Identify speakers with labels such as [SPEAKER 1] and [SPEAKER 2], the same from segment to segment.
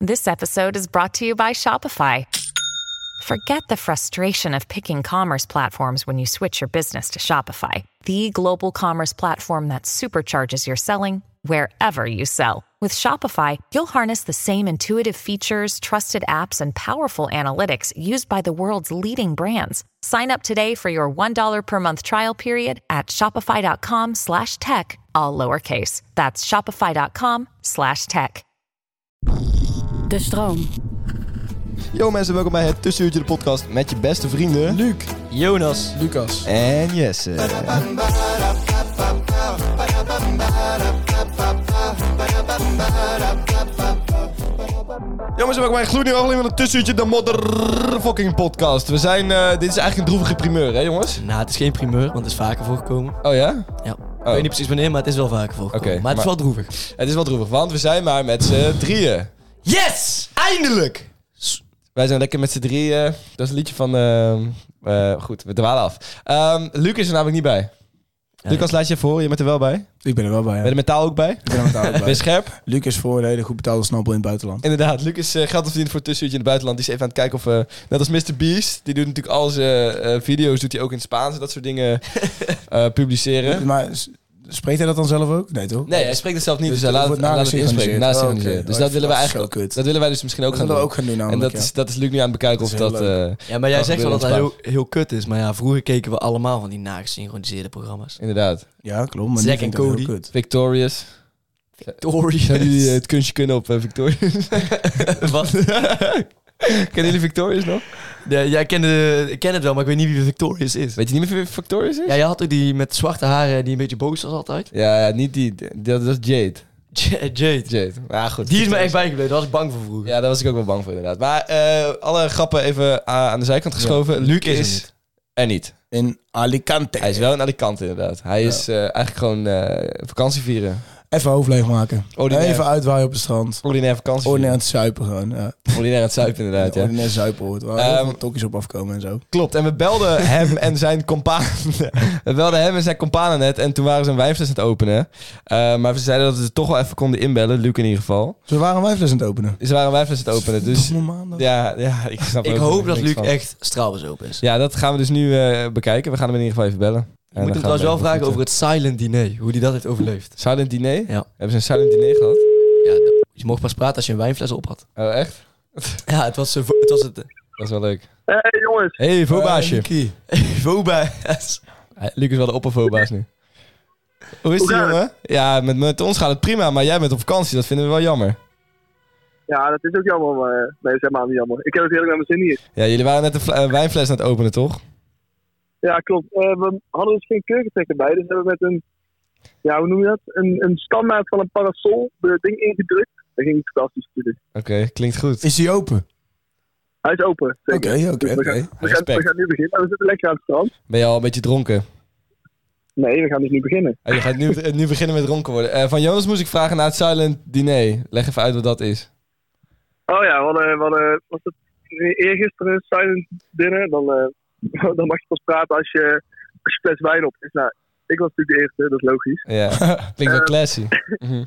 [SPEAKER 1] This episode is brought to you by Shopify. Forget the frustration of picking commerce platforms when you switch your business to Shopify, the global commerce platform that supercharges your selling wherever you sell. With Shopify, you'll harness the same intuitive features, trusted apps, and powerful analytics used by the world's leading brands. Sign up today for your $1 per month trial period at shopify.com slash tech, all lowercase. That's shopify.com slash tech.
[SPEAKER 2] De stroom.
[SPEAKER 3] Yo mensen, welkom bij het Tussenuurtje de podcast met je beste vrienden... Luc, Jonas
[SPEAKER 4] Lucas.
[SPEAKER 3] en Jesse. Jongens, welkom bij een gloednieuwe aflevering van het Tussenuurtje de motherfucking podcast. We zijn... eh, dit is eigenlijk een droevige primeur, hè jongens?
[SPEAKER 4] Nou, het is geen primeur, want het is vaker voorgekomen.
[SPEAKER 3] Oh ja?
[SPEAKER 4] Ja. Ik weet niet precies wanneer, maar het is wel vaker voorgekomen.
[SPEAKER 3] Oké,
[SPEAKER 4] maar het is
[SPEAKER 3] maar-
[SPEAKER 4] wel droevig.
[SPEAKER 3] Het is wel droevig, want we zijn maar met z'n drieën.
[SPEAKER 4] Yes!
[SPEAKER 3] Eindelijk! Wij zijn lekker met z'n drieën. Dat is een liedje van... ehm, eh, goed, we dwalen af. Ehm Luc is er namelijk niet bij. Lucas, laat je even horen. Je bent er wel bij.
[SPEAKER 5] Ik ben er wel bij.
[SPEAKER 3] Ben je er metaal ook bij?
[SPEAKER 5] Ik ben er met de auto
[SPEAKER 3] Ben je
[SPEAKER 5] bij.
[SPEAKER 3] scherp?
[SPEAKER 5] Luc is voor een hele goed betaalde snappel in het buitenland.
[SPEAKER 3] Inderdaad, Luc is eh, geld verdiend voor het tussenuurtje in het buitenland. Die is even aan het kijken of, eh, net als Mr. Beast, die doet natuurlijk al zijn eh, video's, doet hij ook in het Spaans en dat soort dingen eh, publiceren.
[SPEAKER 5] Maar s- spreekt hij dat dan zelf ook? Nee toch?
[SPEAKER 3] Nee, hij spreekt het zelf niet, dus,
[SPEAKER 5] Dus
[SPEAKER 3] hij
[SPEAKER 5] dat
[SPEAKER 3] laat het,
[SPEAKER 5] wordt
[SPEAKER 3] hij laat het
[SPEAKER 5] nagesynchroniseerd.
[SPEAKER 3] inspreken. naast
[SPEAKER 5] Oh, oké.
[SPEAKER 3] synchroniseren. Dus
[SPEAKER 5] Oh,
[SPEAKER 3] dat willen, we
[SPEAKER 5] dat is
[SPEAKER 3] eigenlijk,
[SPEAKER 5] wel kut.
[SPEAKER 3] dat willen wij dus misschien ook
[SPEAKER 5] Dat
[SPEAKER 3] gaan
[SPEAKER 5] willen
[SPEAKER 3] doen.
[SPEAKER 5] we ook gaan doen
[SPEAKER 3] en
[SPEAKER 5] namelijk,
[SPEAKER 3] dat,
[SPEAKER 5] ja.
[SPEAKER 3] is, dat is Luc nu aan het bekijken of
[SPEAKER 5] Dat is
[SPEAKER 3] dat...
[SPEAKER 5] heel leuk.
[SPEAKER 3] eh,
[SPEAKER 4] Ja, maar jij
[SPEAKER 3] kan
[SPEAKER 4] zegt wel dat dat
[SPEAKER 3] gebeuren in
[SPEAKER 4] heel, heel kut is. Maar ja, vroeger keken we allemaal van die nagesynchroniseerde programma's.
[SPEAKER 3] Inderdaad.
[SPEAKER 5] Ja, klopt. Maar
[SPEAKER 4] Zack
[SPEAKER 5] Zack
[SPEAKER 4] en
[SPEAKER 5] en Cody.
[SPEAKER 4] Cody.
[SPEAKER 3] Victorious.
[SPEAKER 4] Victorious.
[SPEAKER 3] Zouden jullie eh, het kunstje kunnen op eh, Victorious? eh,
[SPEAKER 4] Wat?
[SPEAKER 3] Kennen jullie Victorious nog?
[SPEAKER 4] Ja, jij kende, de- ik ken het wel, maar ik weet niet wie Victorious is.
[SPEAKER 3] Weet je niet meer wie Victorious is?
[SPEAKER 4] Ja, jij had ook die met zwarte haren die een beetje boos was altijd.
[SPEAKER 3] Ja, ja, niet die. Dat, dat is Jade.
[SPEAKER 4] J- Jade.
[SPEAKER 3] Jade. Maar goed.
[SPEAKER 4] Die is me echt bijgebleven, daar was ik bang voor vroeger.
[SPEAKER 3] Ja, daar was ik ook wel bang voor inderdaad. Maar eh, alle grappen even eh, aan de zijkant geschoven. Luc
[SPEAKER 4] is er
[SPEAKER 3] is
[SPEAKER 4] niet.
[SPEAKER 3] er niet.
[SPEAKER 5] In Alicante.
[SPEAKER 3] Hij is wel in Alicante inderdaad. Hij is eh, eigenlijk gewoon eh, vakantie vieren.
[SPEAKER 5] Even hoofd leegmaken.
[SPEAKER 3] Ordinair.
[SPEAKER 5] Even uitwaaien op het strand.
[SPEAKER 3] Ordinair vakantie
[SPEAKER 5] Ordinair aan
[SPEAKER 3] vieren.
[SPEAKER 5] het zuipen gewoon. Ja.
[SPEAKER 3] Ordinair aan het zuipen inderdaad, ja.
[SPEAKER 5] Ordinair zuipen hoort. Waar heel
[SPEAKER 3] Ehm,
[SPEAKER 5] veel tokkies op afkomen en zo.
[SPEAKER 3] Klopt. En we belden hem en zijn compaan. we belden hem en zijn companen net. En toen waren ze een wijfles aan het openen. Eh, maar we zeiden dat we ze toch wel even konden inbellen. Luc in ieder geval.
[SPEAKER 5] Ze waren een wijfles aan het openen.
[SPEAKER 3] Ze waren een wijfles aan het openen. Dus
[SPEAKER 5] Domme maandag.
[SPEAKER 3] ja, ja, ik snap
[SPEAKER 4] Ik
[SPEAKER 3] ook
[SPEAKER 4] hoop dat
[SPEAKER 3] niks
[SPEAKER 4] Luc
[SPEAKER 3] van.
[SPEAKER 4] echt straalbezopen is.
[SPEAKER 3] Ja, dat gaan we dus nu eh, bekijken. We gaan hem in ieder geval even bellen.
[SPEAKER 4] Ik moet hem trouwens wel vragen over het silent diner, hoe die dat heeft overleefd.
[SPEAKER 3] Silent diner?
[SPEAKER 4] Ja.
[SPEAKER 3] Hebben ze een silent diner gehad?
[SPEAKER 4] Ja, d- je mocht pas praten als je een wijnfles op had.
[SPEAKER 3] Oh, echt?
[SPEAKER 4] Ja, het was, eh, vo- het, was het eh,
[SPEAKER 3] Dat is wel leuk.
[SPEAKER 6] Hey jongens,
[SPEAKER 3] hey,
[SPEAKER 5] Eh,
[SPEAKER 3] voorbaasje.
[SPEAKER 5] Nicky.
[SPEAKER 4] voorbaas.
[SPEAKER 3] Luc is wel de oppervoorbaas nu. Hoe is het,
[SPEAKER 6] Hoe gaat
[SPEAKER 3] jongen? Ja, met, met ons gaat het prima, maar jij bent op vakantie. Dat vinden we wel jammer.
[SPEAKER 6] ja, dat is ook jammer, maar eh, nee, zeg maar niet jammer. Ik heb het heerlijk naar mijn zin hier.
[SPEAKER 3] Ja, jullie waren net een fla- eh, wijnfles aan het openen, toch?
[SPEAKER 6] Ja, klopt. Eh, we hadden dus geen keukentrekker bij, dus hebben we met een, ja, hoe noem je dat? Een, een standaard van een parasol de ding ingedrukt. Dat ging fantastisch natuurlijk.
[SPEAKER 3] Oké, klinkt goed.
[SPEAKER 5] Is die open?
[SPEAKER 6] Hij is open. zeker.
[SPEAKER 5] Oké, oké,
[SPEAKER 6] Dus we,
[SPEAKER 5] oké.
[SPEAKER 6] gaan, we, gaan,
[SPEAKER 3] Respect.
[SPEAKER 6] we gaan nu beginnen. Oh, We zitten lekker aan het strand.
[SPEAKER 3] Ben je al een beetje dronken?
[SPEAKER 6] Nee, we gaan dus nu beginnen.
[SPEAKER 3] Oh, je gaat nu, eh, nu beginnen met dronken worden. Eh, van Jonas moest ik vragen naar het silent diner. Leg even uit wat dat is.
[SPEAKER 6] Oh ja, wat, eh, wat eh, was het eergisteren een silent dinner? Dan, eh, dan mag je pas praten als je, als je fles wijn op is. Nou, ik was natuurlijk de eerste, dat is logisch.
[SPEAKER 3] Ja, klinkt wel classy. Mhm.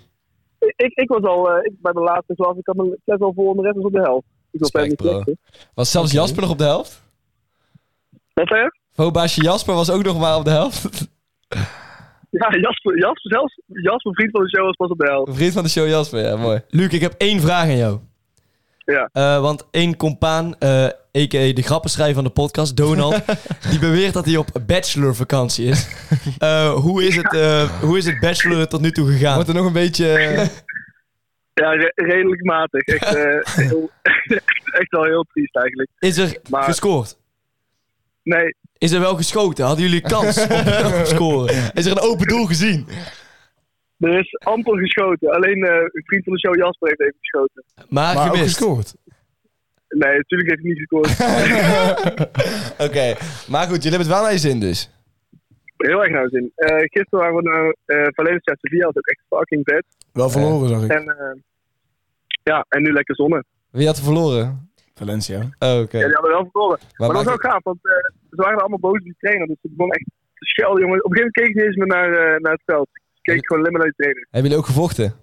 [SPEAKER 6] Ik, ik was al eh, ik, bij mijn laatste klas, ik had mijn les al vol en de rest was op de helft. Ik was
[SPEAKER 3] Respect,
[SPEAKER 6] bijna niet
[SPEAKER 3] bro.
[SPEAKER 6] slecht, hè.
[SPEAKER 3] Was zelfs Jasper nog op de helft?
[SPEAKER 6] Wat eh? zei je?
[SPEAKER 3] Voorbaasje Jasper was ook nog maar op de helft.
[SPEAKER 6] Ja, Jasper, Jasper zelfs, Jasper, vriend van de show, was pas op de helft.
[SPEAKER 3] Vriend van de show Jasper, ja, mooi.
[SPEAKER 4] Luc, ik heb één vraag aan jou.
[SPEAKER 6] Ja.
[SPEAKER 4] Eh, want één compaan, eh a.k.a. de grappenschrijver van de podcast, Donald, die beweert dat hij op bachelorvakantie is. Eh, hoe, is het, eh, hoe is het bachelor tot nu toe gegaan?
[SPEAKER 3] Wordt er nog een beetje... eh,
[SPEAKER 6] Ja, re- redelijk matig. Echt, eh, heel, echt wel heel triest eigenlijk.
[SPEAKER 4] Is er
[SPEAKER 6] Maar-
[SPEAKER 4] gescoord?
[SPEAKER 6] Nee,
[SPEAKER 4] Is er wel geschoten? Hadden jullie kans op, op scoren?
[SPEAKER 3] Is er een open doel gezien?
[SPEAKER 6] er is amper geschoten. Alleen eh, een vriend van de show, Jasper, heeft even geschoten.
[SPEAKER 4] Maar,
[SPEAKER 5] Maar ook
[SPEAKER 4] gemist.
[SPEAKER 5] gescoord.
[SPEAKER 6] Nee, natuurlijk heeft hij niet gescoord.
[SPEAKER 3] Oké, maar goed, jullie hebben het wel naar je zin dus.
[SPEAKER 6] heel erg naar zin. Eh, gisteren waren we naar eh Valencia Sevilla, dat is ook echt fucking vet.
[SPEAKER 5] Wel verloren zag ik.
[SPEAKER 6] En eh, ja, en nu lekker zonnen.
[SPEAKER 3] Wie had er verloren?
[SPEAKER 5] Valencia.
[SPEAKER 3] Oh, oké.
[SPEAKER 6] Ja, die hadden wel verloren.
[SPEAKER 3] Maar
[SPEAKER 6] Maar, dat was
[SPEAKER 3] maakt
[SPEAKER 6] ook gaaf, want eh, ze waren allemaal boos op die trainer. Dus het begon echt te schelden, jongen. Op een gegeven moment keek ik niet eens meer naar, eh, naar het veld. Ik keek gewoon alleen maar naar die trainer.
[SPEAKER 3] Hebben jullie ook gevochten?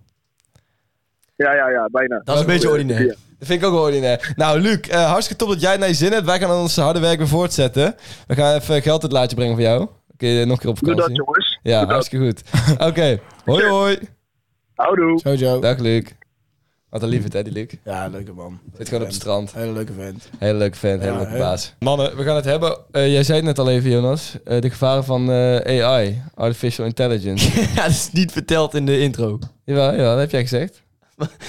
[SPEAKER 6] Ja, ja, ja, bijna.
[SPEAKER 4] Dat is een beetje ordinair.
[SPEAKER 6] Ja.
[SPEAKER 3] Dat vind ik ook wel ordinair. Nou, Luc, eh, hartstikke top dat jij het naar je zin hebt. Wij gaan ons harde werk weer voortzetten. We gaan even geld het laadje brengen voor jou. Oké, nog een keer op
[SPEAKER 6] Doe
[SPEAKER 3] vakantie.
[SPEAKER 6] dat, jongens.
[SPEAKER 3] Ja, hartstikke goed. Oké, hoi hoi.
[SPEAKER 6] Houdoe.
[SPEAKER 5] Zo, Joe.
[SPEAKER 3] Dag Luc. Wat een liefde, hè, die Luc.
[SPEAKER 5] Ja, leuke man.
[SPEAKER 3] Zit gewoon op het strand.
[SPEAKER 5] Hele leuke vent.
[SPEAKER 3] Hele leuke fan, hele
[SPEAKER 5] Ja,
[SPEAKER 3] leuke
[SPEAKER 5] hè?
[SPEAKER 3] baas. Mannen, we gaan het hebben. eh, jij zei het net al even, Jonas. eh, de gevaren van eh, AI, Artificial Intelligence.
[SPEAKER 4] Ja, dat is niet verteld in de intro.
[SPEAKER 3] jawel, jawel, dat heb jij gezegd.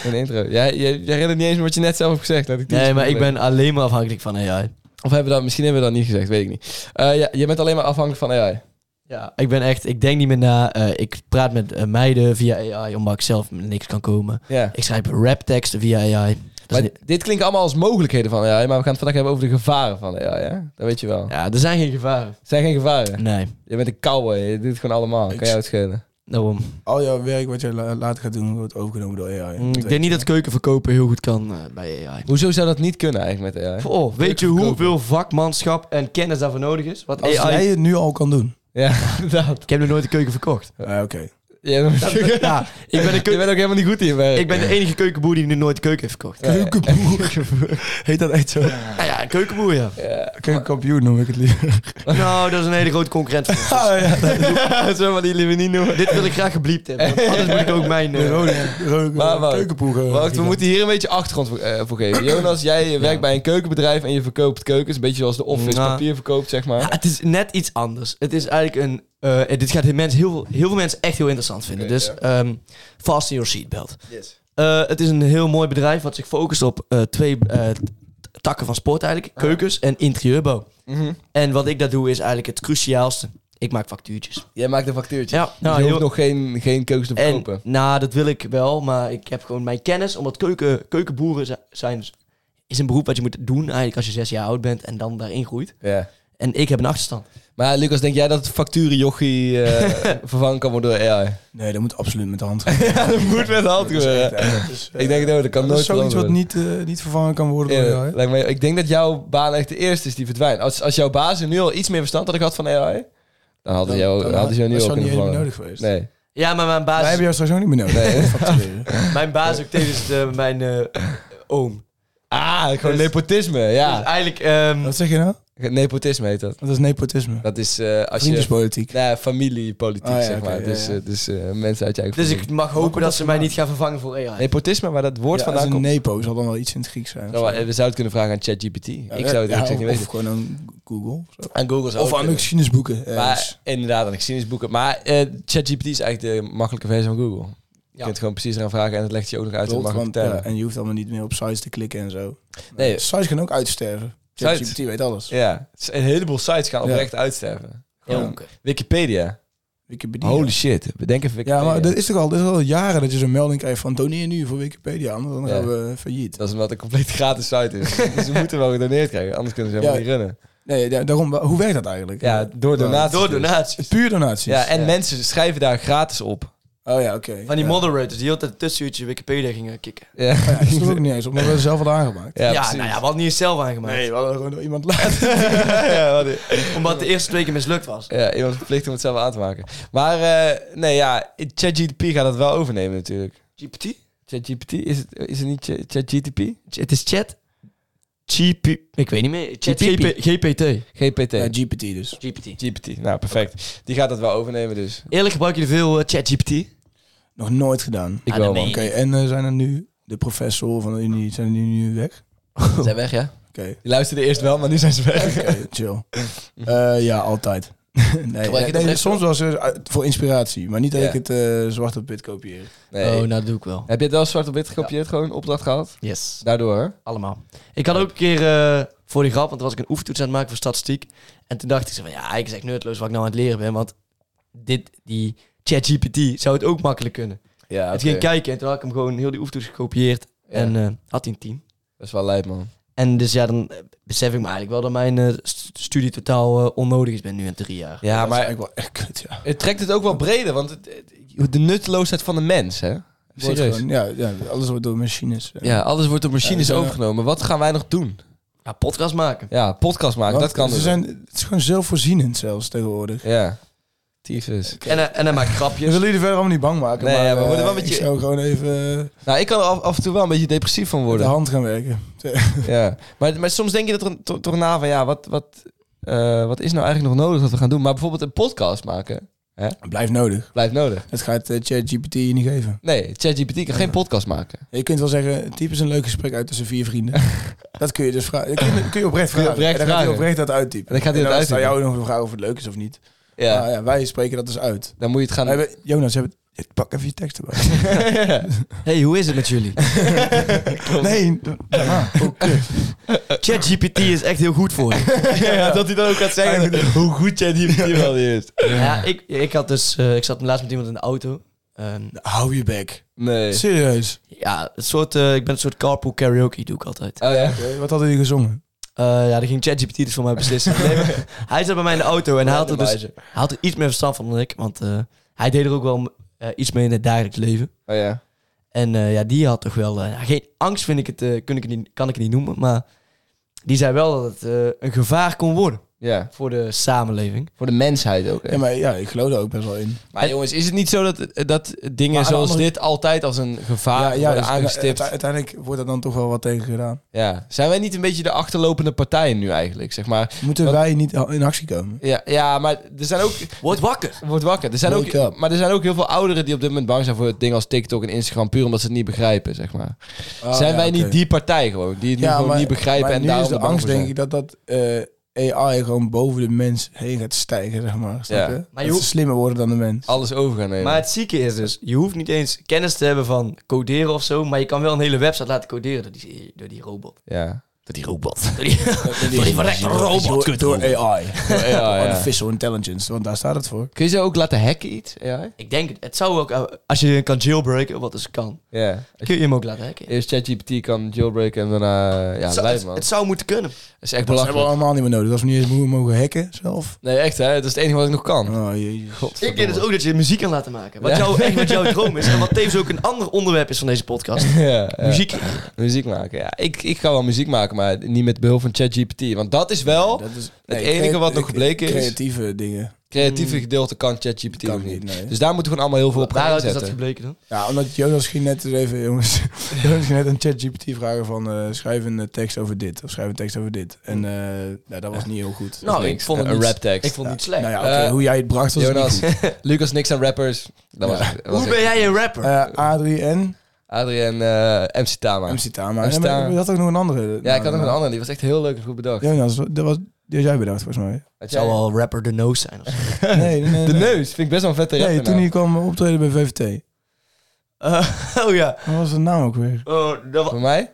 [SPEAKER 3] In de intro. Jij, jij, jij herinnert niet eens meer wat je net zelf hebt gezegd. laat ik die
[SPEAKER 4] Nee,
[SPEAKER 3] eens
[SPEAKER 4] maar ik
[SPEAKER 3] googlen.
[SPEAKER 4] ben alleen maar afhankelijk van AI.
[SPEAKER 3] Of hebben we dat, misschien hebben we dat niet gezegd, weet ik niet. Eh, ja, je bent alleen maar afhankelijk van AI.
[SPEAKER 4] Ja, ik ben echt, ik denk niet meer na. eh, ik praat met eh, meiden via AI, omdat ik zelf met niks kan komen.
[SPEAKER 3] Ja.
[SPEAKER 4] Ik schrijf rapteksten via AI. Dat is
[SPEAKER 3] Maar
[SPEAKER 4] niet-
[SPEAKER 3] dit klinkt allemaal als mogelijkheden van AI, maar we gaan het vandaag hebben over de gevaren van AI, hè? Dat weet je wel.
[SPEAKER 4] ja, er zijn geen gevaren.
[SPEAKER 3] Het zijn geen gevaren.
[SPEAKER 4] Nee,
[SPEAKER 3] Je bent een cowboy, je doet het gewoon allemaal. Kan jou het schelen.
[SPEAKER 4] daarom.
[SPEAKER 5] Al jouw werk wat je la- later gaat doen, wordt overgenomen door AI.
[SPEAKER 4] Mm, Ik denk niet dat keukenverkopen heel goed kan eh, bij AI.
[SPEAKER 3] Hoezo zou dat niet kunnen eigenlijk met AI?
[SPEAKER 4] Oh, weet je
[SPEAKER 3] Keukenverkopen.
[SPEAKER 4] hoeveel vakmanschap en kennis daarvoor nodig is? Wat
[SPEAKER 5] Als
[SPEAKER 4] AI...
[SPEAKER 5] jij het nu al kan doen.
[SPEAKER 3] Ja, inderdaad.
[SPEAKER 4] Ik heb nog nooit een keuken verkocht.
[SPEAKER 5] Ah, Oké.
[SPEAKER 3] Je bent,
[SPEAKER 4] Ja, ik ben, een
[SPEAKER 3] je
[SPEAKER 4] keu-
[SPEAKER 3] bent ook helemaal niet goed in je werk.
[SPEAKER 4] ik ben de enige keukenboer die nu nooit een keuken heeft verkocht. Ja,
[SPEAKER 5] Keukenboer. Heet dat echt zo?
[SPEAKER 4] ja, een keukenboer, ja.
[SPEAKER 5] Keukenkampioen noem ik het liever.
[SPEAKER 4] Nou, dat is een hele grote concurrent. voor ons.
[SPEAKER 5] Ah
[SPEAKER 3] Oh,
[SPEAKER 5] ja, dat
[SPEAKER 3] Zo maar die liever niet noemen.
[SPEAKER 4] Dit wil ik graag gebliept hebben. want Anders moet ik ook mijn... eh,
[SPEAKER 3] Maar Wout,
[SPEAKER 5] Keukenpoer. eh,
[SPEAKER 3] Wout, we
[SPEAKER 5] Guido.
[SPEAKER 3] moeten hier een beetje achtergrond voor, eh, voor geven. Jonas, jij werkt bij een keukenbedrijf en je verkoopt keukens. Een beetje zoals de office
[SPEAKER 4] Nou.
[SPEAKER 3] papier verkoopt, zeg maar.
[SPEAKER 4] Ja, het is net iets anders. Het is eigenlijk een. eh, dit gaat heel, mensen, heel, veel, heel veel mensen echt heel interessant vinden.
[SPEAKER 3] Oké,
[SPEAKER 4] dus
[SPEAKER 3] ja.
[SPEAKER 4] ehm, fasten your seatbelt. Eh, het is een heel mooi bedrijf wat zich focust op eh, twee eh, t- takken van sport eigenlijk. Keukens en interieurbouw.
[SPEAKER 3] Mhm.
[SPEAKER 4] En wat ik daar doe is eigenlijk het cruciaalste. Ik maak factuurtjes.
[SPEAKER 3] Jij maakt een factuurtje. Dus
[SPEAKER 4] Ja, nou,
[SPEAKER 3] je hoeft
[SPEAKER 4] heel-
[SPEAKER 3] nog geen, geen keukens te
[SPEAKER 4] En
[SPEAKER 3] verkopen.
[SPEAKER 4] nou, dat wil ik wel, maar ik heb gewoon mijn kennis. Omdat keuken, keukenboeren zi- zijn, is een beroep wat je moet doen eigenlijk als je zes jaar oud bent en dan daarin groeit.
[SPEAKER 3] Ja.
[SPEAKER 4] En ik heb een achterstand.
[SPEAKER 3] Maar Lucas, denk jij dat het facturenjochie eh, vervangen kan worden door AI?
[SPEAKER 5] Nee, dat moet absoluut met de hand.
[SPEAKER 3] Ja, dat moet met hand gebeuren. Ik denk, no, dat kan
[SPEAKER 5] eh, Dat
[SPEAKER 3] nooit
[SPEAKER 5] is zoiets wat
[SPEAKER 3] veranderen.
[SPEAKER 5] niet, eh, niet vervangen kan worden door
[SPEAKER 3] Ja,
[SPEAKER 5] AI.
[SPEAKER 3] lijkt mij- ik denk dat jouw baan echt de eerste is die verdwijnt. Als, als jouw baas nu al iets meer verstand had gehad van AI, dan hadden ze jou,
[SPEAKER 5] Dan-
[SPEAKER 3] dan hadden ze jou nu
[SPEAKER 5] dat
[SPEAKER 3] al
[SPEAKER 5] zou
[SPEAKER 3] kunnen vervangen.
[SPEAKER 5] niet helemaal nodig geweest.
[SPEAKER 3] Nee.
[SPEAKER 4] Ja, maar mijn
[SPEAKER 5] Wij
[SPEAKER 4] basis
[SPEAKER 5] hebben jou straks ook niet meer nodig. Factureren.
[SPEAKER 4] Mijn baas ook tevens de, mijn eh, oom.
[SPEAKER 3] Ah, gewoon
[SPEAKER 4] Dus-
[SPEAKER 3] nepotisme,
[SPEAKER 4] Dus
[SPEAKER 3] ja.
[SPEAKER 4] eigenlijk... ehm,
[SPEAKER 5] Wat zeg je nou?
[SPEAKER 3] Nepotisme heet dat.
[SPEAKER 5] Dat is nepotisme.
[SPEAKER 3] Dat is eh, als je...
[SPEAKER 5] Vriendjespolitiek.
[SPEAKER 3] Nou, familiepolitiek,
[SPEAKER 5] Ah, ja,
[SPEAKER 3] zeg
[SPEAKER 5] oké,
[SPEAKER 3] maar.
[SPEAKER 5] ja,
[SPEAKER 3] dus
[SPEAKER 5] ja.
[SPEAKER 3] eh, dus eh, mensen uit je eigen
[SPEAKER 4] dus
[SPEAKER 3] familie.
[SPEAKER 4] ik mag hopen dat ze mij niet gaan vervangen voor AI.
[SPEAKER 3] Nepotisme, waar dat woord
[SPEAKER 5] Ja, als
[SPEAKER 3] vandaan
[SPEAKER 5] een
[SPEAKER 3] komt.
[SPEAKER 5] nepo zal dan wel iets in het Grieks zijn. of
[SPEAKER 3] Nou,
[SPEAKER 5] zo.
[SPEAKER 3] eh, we zouden het kunnen vragen aan ChatGPT. ik zou het
[SPEAKER 5] Ja,
[SPEAKER 3] ook zeggen niet
[SPEAKER 5] of,
[SPEAKER 3] weten.
[SPEAKER 5] of gewoon aan Google. of zo.
[SPEAKER 3] Aan Google zou
[SPEAKER 5] Of
[SPEAKER 3] ook
[SPEAKER 5] aan dus.
[SPEAKER 3] kunnen.
[SPEAKER 5] geschiedenis boeken.
[SPEAKER 3] Maar inderdaad, aan geschiedenisboeken. Maar eh, ChatGPT is eigenlijk de makkelijke versie van Google. Je kunt gewoon precies eraan vragen en het legt je ook nog uit. en het makkelijk vertellen.
[SPEAKER 5] en je hoeft allemaal niet meer op sites te klikken en zo.
[SPEAKER 3] Nee.
[SPEAKER 5] Sites gaan ook uitsterven.
[SPEAKER 3] Sites?
[SPEAKER 5] ChatGPT weet alles.
[SPEAKER 3] Ja, s- een heleboel sites gaan
[SPEAKER 5] Ja.
[SPEAKER 3] oprecht uitsterven.
[SPEAKER 5] Ja.
[SPEAKER 3] Wikipedia.
[SPEAKER 5] Wikipedia.
[SPEAKER 3] Holy shit, bedenk even
[SPEAKER 5] ja,
[SPEAKER 3] Wikipedia.
[SPEAKER 5] maar dat is toch al, dat is al jaren dat je zo'n melding krijgt van doneer nu voor Wikipedia, anders dan
[SPEAKER 3] Ja.
[SPEAKER 5] gaan we eh, failliet.
[SPEAKER 3] Dat is omdat het een compleet gratis site is. dus ze moeten wel gedoneerd krijgen, anders kunnen ze helemaal
[SPEAKER 5] Ja.
[SPEAKER 3] niet runnen.
[SPEAKER 5] Nee, ja, daarom, wa- hoe werkt dat eigenlijk?
[SPEAKER 3] Ja, door donaties.
[SPEAKER 4] Door
[SPEAKER 3] dus.
[SPEAKER 4] donaties.
[SPEAKER 5] Puur donaties?
[SPEAKER 3] Ja, en mensen schrijven daar gratis op.
[SPEAKER 5] Oh ja, oké.
[SPEAKER 4] Van die
[SPEAKER 5] ja.
[SPEAKER 4] moderators die altijd tussenuurtje Wikipedia gingen kicken.
[SPEAKER 3] Ja,
[SPEAKER 5] Ja, dat is toch ook niet eens op, maar we hebben zelf al aangemaakt.
[SPEAKER 4] Ja,
[SPEAKER 3] ja, precies.
[SPEAKER 4] nou ja, we hadden niet eens zelf aangemaakt.
[SPEAKER 5] we hadden gewoon door iemand laten.
[SPEAKER 3] Ja, wat-
[SPEAKER 4] Omdat de eerste twee keer mislukt was.
[SPEAKER 3] ja, iemand verplicht om het zelf aan te maken. Maar eh, nee, ja, ChatGPT gaat dat wel overnemen natuurlijk.
[SPEAKER 4] GPT?
[SPEAKER 3] ChatGPT? Is het, is het niet Ch- ChatGPT?
[SPEAKER 4] Het is chat... GP... Ik weet niet meer. Chat
[SPEAKER 3] GP.
[SPEAKER 4] GPT.
[SPEAKER 3] GPT.
[SPEAKER 5] Ja, GPT dus.
[SPEAKER 4] GPT.
[SPEAKER 3] GPT. Nou, perfect. Die gaat dat wel overnemen dus.
[SPEAKER 4] Eerlijk gebruik je veel eh, ChatGPT?
[SPEAKER 5] Nog nooit gedaan.
[SPEAKER 3] Ik
[SPEAKER 4] Ah,
[SPEAKER 3] wel,
[SPEAKER 4] dat
[SPEAKER 3] man.
[SPEAKER 4] meen
[SPEAKER 5] Oké, en eh, zijn er nu de professor van de Unie, zijn die nu weg? Oh,
[SPEAKER 3] Zijn weg, ja?
[SPEAKER 5] Oké,
[SPEAKER 3] Die luisterden eerst wel, maar nu zijn ze weg.
[SPEAKER 5] oké, chill. Eh, ja, altijd. nee,
[SPEAKER 3] dat
[SPEAKER 5] eh, nee,
[SPEAKER 3] echt
[SPEAKER 5] soms was er eh, voor inspiratie, maar niet dat
[SPEAKER 3] Ja.
[SPEAKER 5] ik het eh zwart op wit kopieer.
[SPEAKER 3] Nee.
[SPEAKER 4] Oh, nou doe ik wel.
[SPEAKER 3] Heb je het wel zwart op wit gekopieerd, gewoon opdracht gehad?
[SPEAKER 4] Yes.
[SPEAKER 3] Daardoor, hè?
[SPEAKER 4] Allemaal. Ik had ook een keer eh, voor die grap, want toen was ik een oefentoets aan het maken voor statistiek. En toen dacht ik zo van, ja, ik zeg nutteloos wat ik nou aan het leren ben, want dit, die ChatGPT zou het ook makkelijk kunnen.
[SPEAKER 3] Ja,
[SPEAKER 4] Het ging kijken en toen had ik hem gewoon heel die oefentoets gekopieerd en eh, had hij een 10.
[SPEAKER 3] Dat is wel lijp, man.
[SPEAKER 4] En dus ja, dan eh, besef ik me eigenlijk wel dat mijn eh, st- studie totaal eh, onnodig is ben nu in drie jaar.
[SPEAKER 3] Ja,
[SPEAKER 5] dat is
[SPEAKER 3] maar
[SPEAKER 5] eigenlijk wel echt kut, ja.
[SPEAKER 3] het trekt het ook wel breder, want het- het- de nutteloosheid van de mens, hè?
[SPEAKER 5] Wordt
[SPEAKER 3] Serieus.
[SPEAKER 5] gewoon- ja, ja, alles wordt door machines. eh.
[SPEAKER 3] Ja, alles wordt door machines
[SPEAKER 5] Ja, we zijn-
[SPEAKER 3] overgenomen. Wat gaan wij nog doen?
[SPEAKER 4] Ja, podcast maken.
[SPEAKER 3] Ja, podcast maken,
[SPEAKER 5] Want
[SPEAKER 3] dat kan
[SPEAKER 5] ze
[SPEAKER 3] dus.
[SPEAKER 5] zijn, het is gewoon zelfvoorzienend zelfs tegenwoordig.
[SPEAKER 3] Ja. Tyfus.
[SPEAKER 4] En, hij- en hij maakt
[SPEAKER 5] Je
[SPEAKER 4] grapjes.
[SPEAKER 5] wil jullie verder allemaal niet bang maken.
[SPEAKER 3] Nee,
[SPEAKER 5] maar,
[SPEAKER 3] ja, we worden wel
[SPEAKER 5] eh,
[SPEAKER 3] een beetje-
[SPEAKER 5] Ik zou gewoon even eh,
[SPEAKER 3] Nou, ik kan er af, af en toe wel een beetje depressief van
[SPEAKER 5] de
[SPEAKER 3] worden.
[SPEAKER 5] hand gaan werken.
[SPEAKER 3] Ja. Maar, maar soms denk je dat er, to- toch na van, ja, wat, wat, eh, wat is nou eigenlijk nog nodig dat we gaan doen? Maar bijvoorbeeld een podcast maken
[SPEAKER 5] Het blijft nodig.
[SPEAKER 3] blijft nodig.
[SPEAKER 5] Dat gaat eh, ChatGPT je niet geven.
[SPEAKER 3] Nee, ChatGPT kan geen podcast maken.
[SPEAKER 5] Je kunt wel zeggen, typ is een leuk gesprek uit tussen vier vrienden. dat kun je dus vragen. Dat kun je, kun je oprecht
[SPEAKER 3] Kun je
[SPEAKER 5] vragen.
[SPEAKER 3] oprecht
[SPEAKER 5] en dan gaat
[SPEAKER 3] vragen.
[SPEAKER 5] hij oprecht dat uittypen.
[SPEAKER 3] En dan gaat hij dat
[SPEAKER 5] dan is het aan
[SPEAKER 3] uittypen.
[SPEAKER 5] jou nog de vraag of het leuk is of niet. Ja.
[SPEAKER 3] Ja,
[SPEAKER 5] ja, wij spreken dat dus uit.
[SPEAKER 3] dan moet je het gaan...
[SPEAKER 5] We hebben, Jonas, hebben, pak even je tekst erbij.
[SPEAKER 4] hey, hoe is het met jullie?
[SPEAKER 5] nee, daarna. Oh, kut.
[SPEAKER 4] ChatGPT is echt heel goed voor je.
[SPEAKER 3] ja, dat hij dan ook gaat zeggen hoe goed ChatGPT wel is.
[SPEAKER 4] Ja, ik, ik, had dus, eh, ik zat laatst met iemand in de auto. Ehm,
[SPEAKER 5] Hou je bek.
[SPEAKER 3] Nee.
[SPEAKER 5] Serieus.
[SPEAKER 4] ja, het soort, eh, ik ben een soort carpool karaoke, doe ik altijd.
[SPEAKER 3] Oh ja.
[SPEAKER 5] Oké, wat hadden jullie gezongen?
[SPEAKER 4] Eh, ja, dan ging ChatGPT dus voor mij beslissen. Nee, maar hij zat bij mij in de auto en hij had, er dus, hij
[SPEAKER 3] Randomizer.
[SPEAKER 4] had er iets meer verstand van dan ik. Want eh, hij deed er ook wel eh, iets mee in het dagelijks leven.
[SPEAKER 3] Oh ja.
[SPEAKER 4] En eh, ja, die had toch wel... eh, geen angst vind ik het, eh, kun ik het niet, kan ik het niet noemen, maar... Die zei wel dat het eh, een gevaar kon worden
[SPEAKER 3] Ja.
[SPEAKER 4] voor de samenleving.
[SPEAKER 3] Voor de mensheid ook. hè.
[SPEAKER 5] Ja, maar ja, ik geloof daar ook best wel in.
[SPEAKER 3] Maar jongens, is het niet zo dat, dat dingen
[SPEAKER 5] Maar aan de
[SPEAKER 3] zoals
[SPEAKER 5] andere-
[SPEAKER 3] dit altijd als een gevaar
[SPEAKER 5] ja,
[SPEAKER 3] worden
[SPEAKER 5] dus- en, eh,
[SPEAKER 3] aangestipt?
[SPEAKER 5] uite- Uiteindelijk wordt er dan toch wel wat tegen gedaan.
[SPEAKER 3] Ja. Zijn wij niet een beetje de achterlopende partijen nu eigenlijk, zeg maar?
[SPEAKER 5] Moeten
[SPEAKER 3] Wat-
[SPEAKER 5] wij niet in actie komen?
[SPEAKER 3] Ja, ja maar er zijn ook...
[SPEAKER 4] Word wakker!
[SPEAKER 3] Word wakker. Er zijn
[SPEAKER 5] Wake
[SPEAKER 3] ook,
[SPEAKER 5] up.
[SPEAKER 3] maar er zijn ook heel veel ouderen die op dit moment bang zijn voor dingen als TikTok en Instagram, puur omdat ze het niet begrijpen, zeg maar.
[SPEAKER 5] Oh,
[SPEAKER 3] zijn wij niet die partij gewoon, die het nu gewoon niet begrijpen
[SPEAKER 5] maar
[SPEAKER 3] en
[SPEAKER 5] nu
[SPEAKER 3] daarom
[SPEAKER 5] is de
[SPEAKER 3] er bang
[SPEAKER 5] angst,
[SPEAKER 3] voor zijn?
[SPEAKER 5] denk ik, dat dat eh, AI gewoon boven de mens heen gaat stijgen, zeg maar.
[SPEAKER 3] Ja.
[SPEAKER 5] Snap je?
[SPEAKER 4] Maar je
[SPEAKER 5] Maar je dat
[SPEAKER 4] hoeft-
[SPEAKER 5] ze slimmer worden dan de mens.
[SPEAKER 3] Alles over gaan nemen.
[SPEAKER 4] Maar het zieke is dus, je hoeft niet eens kennis te hebben van coderen of zo, maar je kan wel een hele website laten coderen door die, door die robot.
[SPEAKER 3] ja.
[SPEAKER 4] Door die robot. Door die, door die verrekte
[SPEAKER 5] Door-
[SPEAKER 4] robot.
[SPEAKER 5] door AI.
[SPEAKER 3] Ja, ja, ja.
[SPEAKER 5] Artificial intelligence, want daar staat het voor.
[SPEAKER 3] Kun je ze ook laten hacken iets? Ja.
[SPEAKER 4] Ik denk, het, het zou ook, eh, als je kan jailbreaken, wat dus kan,
[SPEAKER 3] ja.
[SPEAKER 4] kun je hem ook laten hacken.
[SPEAKER 3] Eerst ChatGPT kan jailbreaken en daarna... Ja,
[SPEAKER 4] het, zou,
[SPEAKER 3] lijp
[SPEAKER 4] het-
[SPEAKER 3] man.
[SPEAKER 4] het
[SPEAKER 3] Dat
[SPEAKER 4] zou moeten kunnen.
[SPEAKER 3] is echt
[SPEAKER 5] Dat hebben we
[SPEAKER 3] belachelijk.
[SPEAKER 5] allemaal niet meer nodig. Als we niet eens mo- mogen hacken zelf.
[SPEAKER 3] Nee, echt hè. Dat is het enige wat ik nog kan.
[SPEAKER 5] Oh, jezus.
[SPEAKER 4] Ik denk dus ook dat je muziek kan laten maken. Wat
[SPEAKER 3] Ja.
[SPEAKER 4] jou, echt wat jouw droom is en wat tevens ook een ander onderwerp is van deze podcast.
[SPEAKER 3] Ja, ja.
[SPEAKER 4] Muziek.
[SPEAKER 3] Muziek maken, ja. Ik, ik kan wel muziek maken, maar niet met behulp van ChatGPT. Want dat is wel...
[SPEAKER 5] Dat is-
[SPEAKER 3] het
[SPEAKER 5] nee,
[SPEAKER 3] enige
[SPEAKER 5] crea-
[SPEAKER 3] wat nog gebleken is...
[SPEAKER 5] Creatieve dingen.
[SPEAKER 3] creatieve gedeelte kan ChatGPT
[SPEAKER 5] Mm. Kan
[SPEAKER 3] nog niet.
[SPEAKER 5] niet, nee.
[SPEAKER 3] Dus daar moeten we gewoon allemaal heel veel op gaan
[SPEAKER 4] Waaruit is dat
[SPEAKER 3] zetten.
[SPEAKER 4] gebleken dan?
[SPEAKER 5] Ja, omdat Jonas ging net eens even, jongens, Jonas ging net een ChatGPT vragen van eh, schrijf een eh, tekst over dit of schrijf een tekst over dit. En eh, nou, dat was niet heel goed.
[SPEAKER 4] Nou, ik
[SPEAKER 3] niks.
[SPEAKER 4] vond het
[SPEAKER 3] Een
[SPEAKER 4] niet-
[SPEAKER 3] raptekst.
[SPEAKER 4] Ik vond het niet slecht.
[SPEAKER 5] nou ja, oké,
[SPEAKER 3] Eh,
[SPEAKER 5] hoe jij het bracht was Jonas.
[SPEAKER 3] Jonas, Lucas niks aan rappers. Dat was, dat was
[SPEAKER 4] Hoe ben
[SPEAKER 3] ik.
[SPEAKER 4] jij een rapper?
[SPEAKER 5] Eh, Adrie en
[SPEAKER 3] Adrien, eh, MC Tama.
[SPEAKER 5] MC Tama.
[SPEAKER 3] MC
[SPEAKER 5] Ja, maar
[SPEAKER 3] Tama.
[SPEAKER 5] je had ook nog een andere. nou,
[SPEAKER 3] Ja, ik had nog een andere. Die was echt heel leuk en goed bedacht.
[SPEAKER 5] Jonas, dat was, die had jij bedacht volgens mij.
[SPEAKER 3] Had
[SPEAKER 4] Het
[SPEAKER 3] jij-
[SPEAKER 4] zou wel rapper de noos zijn. Of zo.
[SPEAKER 5] Nee, nee, nee.
[SPEAKER 3] De
[SPEAKER 5] nee.
[SPEAKER 3] neus vind ik best wel een vette
[SPEAKER 5] Nee,
[SPEAKER 3] rapper
[SPEAKER 5] toen
[SPEAKER 3] nou.
[SPEAKER 5] hij kwam optreden bij VVT.
[SPEAKER 4] Eh, oh ja.
[SPEAKER 5] Wat was de naam ook weer?
[SPEAKER 4] Oh, dat wa-
[SPEAKER 3] Voor mij?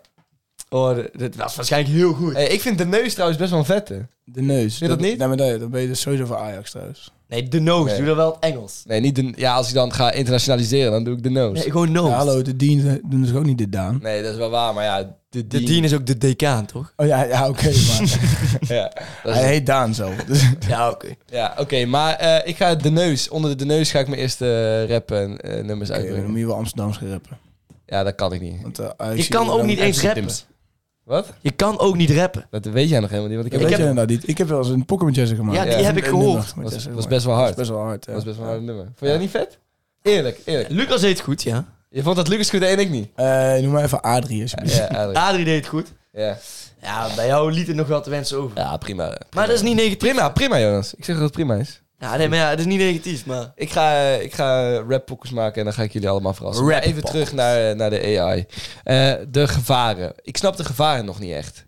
[SPEAKER 4] oh, d- dit was waarschijnlijk heel goed.
[SPEAKER 3] Hey, ik vind de neus trouwens best wel een vette.
[SPEAKER 5] De neus.
[SPEAKER 3] je dat niet?
[SPEAKER 5] Nee, maar dat, dan ben je dus sowieso voor Ajax trouwens.
[SPEAKER 4] Nee, de noos.
[SPEAKER 3] Nee.
[SPEAKER 4] Doe dat wel het Engels.
[SPEAKER 3] Nee, niet de, ja, als ik dan ga internationaliseren, dan doe ik de neus.
[SPEAKER 4] Nee,
[SPEAKER 3] Nee,
[SPEAKER 4] gewoon noos.
[SPEAKER 5] Ja, hallo, de diensten doen dus ook niet dit Daan.
[SPEAKER 3] dat is wel waar, maar ja, de
[SPEAKER 4] De dien is ook de decaan, toch?
[SPEAKER 5] Oh ja, ja oké, maar
[SPEAKER 3] Ja, dat is-
[SPEAKER 5] hij heet Daan zelf. Dus
[SPEAKER 4] Ja, oké.
[SPEAKER 3] ja oké, maar eh, ik ga de neus, onder de neus ga ik mijn eerste eh, rap en eh, nummers
[SPEAKER 5] Oké, dan
[SPEAKER 3] uitbrengen.
[SPEAKER 5] moet je wel Amsterdams gaan rappen.
[SPEAKER 3] Ja, dat kan ik niet.
[SPEAKER 5] Want, eh, Ajax-
[SPEAKER 4] Je kan ook
[SPEAKER 5] dan-
[SPEAKER 4] niet eens
[SPEAKER 3] Engelse
[SPEAKER 4] rappen.
[SPEAKER 3] Wat?
[SPEAKER 4] Je kan ook niet rappen.
[SPEAKER 3] Dat weet jij nog helemaal niet, want ik
[SPEAKER 5] Dat
[SPEAKER 3] heb...
[SPEAKER 5] weet
[SPEAKER 4] heb-
[SPEAKER 5] je inderdaad niet. Ik heb wel eens een Pokémon Jazz gemaakt.
[SPEAKER 4] Ja, die
[SPEAKER 5] Of
[SPEAKER 4] heb
[SPEAKER 5] een-
[SPEAKER 4] ik
[SPEAKER 5] een
[SPEAKER 4] gehoord.
[SPEAKER 5] nummer
[SPEAKER 3] Dat
[SPEAKER 5] met
[SPEAKER 3] was,
[SPEAKER 5] Jazz
[SPEAKER 3] was
[SPEAKER 5] gemaakt.
[SPEAKER 3] best wel
[SPEAKER 5] Dat
[SPEAKER 3] hard.
[SPEAKER 5] is best wel hard, ja.
[SPEAKER 3] Dat was best wel een hard nummer. Vond jij dat niet vet? Eerlijk, eerlijk.
[SPEAKER 4] Lucas deed het goed, ja.
[SPEAKER 3] Je vond dat Lucas goed en ik niet.
[SPEAKER 5] Eh, noem maar even Adrie alsjeblieft.
[SPEAKER 3] Ja, eigenlijk.
[SPEAKER 4] Adrie deed het goed.
[SPEAKER 3] Ja.
[SPEAKER 4] Ja, bij jou liet het nog wel te wensen over.
[SPEAKER 3] ja, prima.
[SPEAKER 4] Maar dat is niet negatief.
[SPEAKER 3] Prima, prima Jonas. Ik zeg dat het prima is.
[SPEAKER 4] Ja, nee, maar ja, het is niet negatief, maar...
[SPEAKER 3] Ik ga, ik ga rappokkers maken en dan ga ik jullie allemaal verrassen. Maar even terug naar, naar de AI. Eh, de gevaren. Ik snap de gevaren nog niet echt.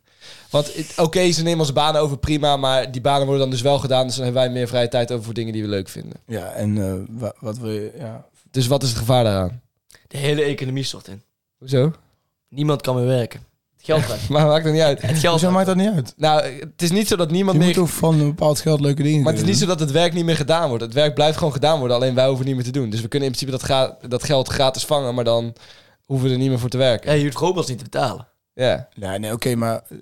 [SPEAKER 3] Want het- oké, ze nemen onze banen over, prima. Maar die banen worden dan dus wel gedaan. Dus dan hebben wij meer vrije tijd over voor dingen die we leuk vinden.
[SPEAKER 5] Ja, en eh, wa- wat wil je... Ja.
[SPEAKER 3] Dus wat is het gevaar daaraan?
[SPEAKER 4] De hele economie stort in.
[SPEAKER 3] Hoezo?
[SPEAKER 4] Niemand kan meer werken. Het geld raakt.
[SPEAKER 3] Maar maakt het niet uit.
[SPEAKER 4] Het geld
[SPEAKER 5] Hoezo
[SPEAKER 4] raakt.
[SPEAKER 5] maakt dat niet uit?
[SPEAKER 3] Nou, het is niet zo dat
[SPEAKER 5] Je
[SPEAKER 3] niemand
[SPEAKER 5] moet
[SPEAKER 3] meer...
[SPEAKER 5] toch van een bepaald geld leuke dingen
[SPEAKER 3] Maar het is niet
[SPEAKER 5] kunnen
[SPEAKER 3] zo dat het werk niet meer gedaan wordt. Het werk blijft gewoon gedaan worden, alleen wij hoeven het niet meer te doen. Dus we kunnen in principe dat, gra- dat geld gratis vangen, maar dan hoeven we er niet meer voor te werken.
[SPEAKER 4] Ja, je hoeft robots niet te betalen.
[SPEAKER 3] Ja.
[SPEAKER 5] doen. Nee, nee, oké, maar... eh,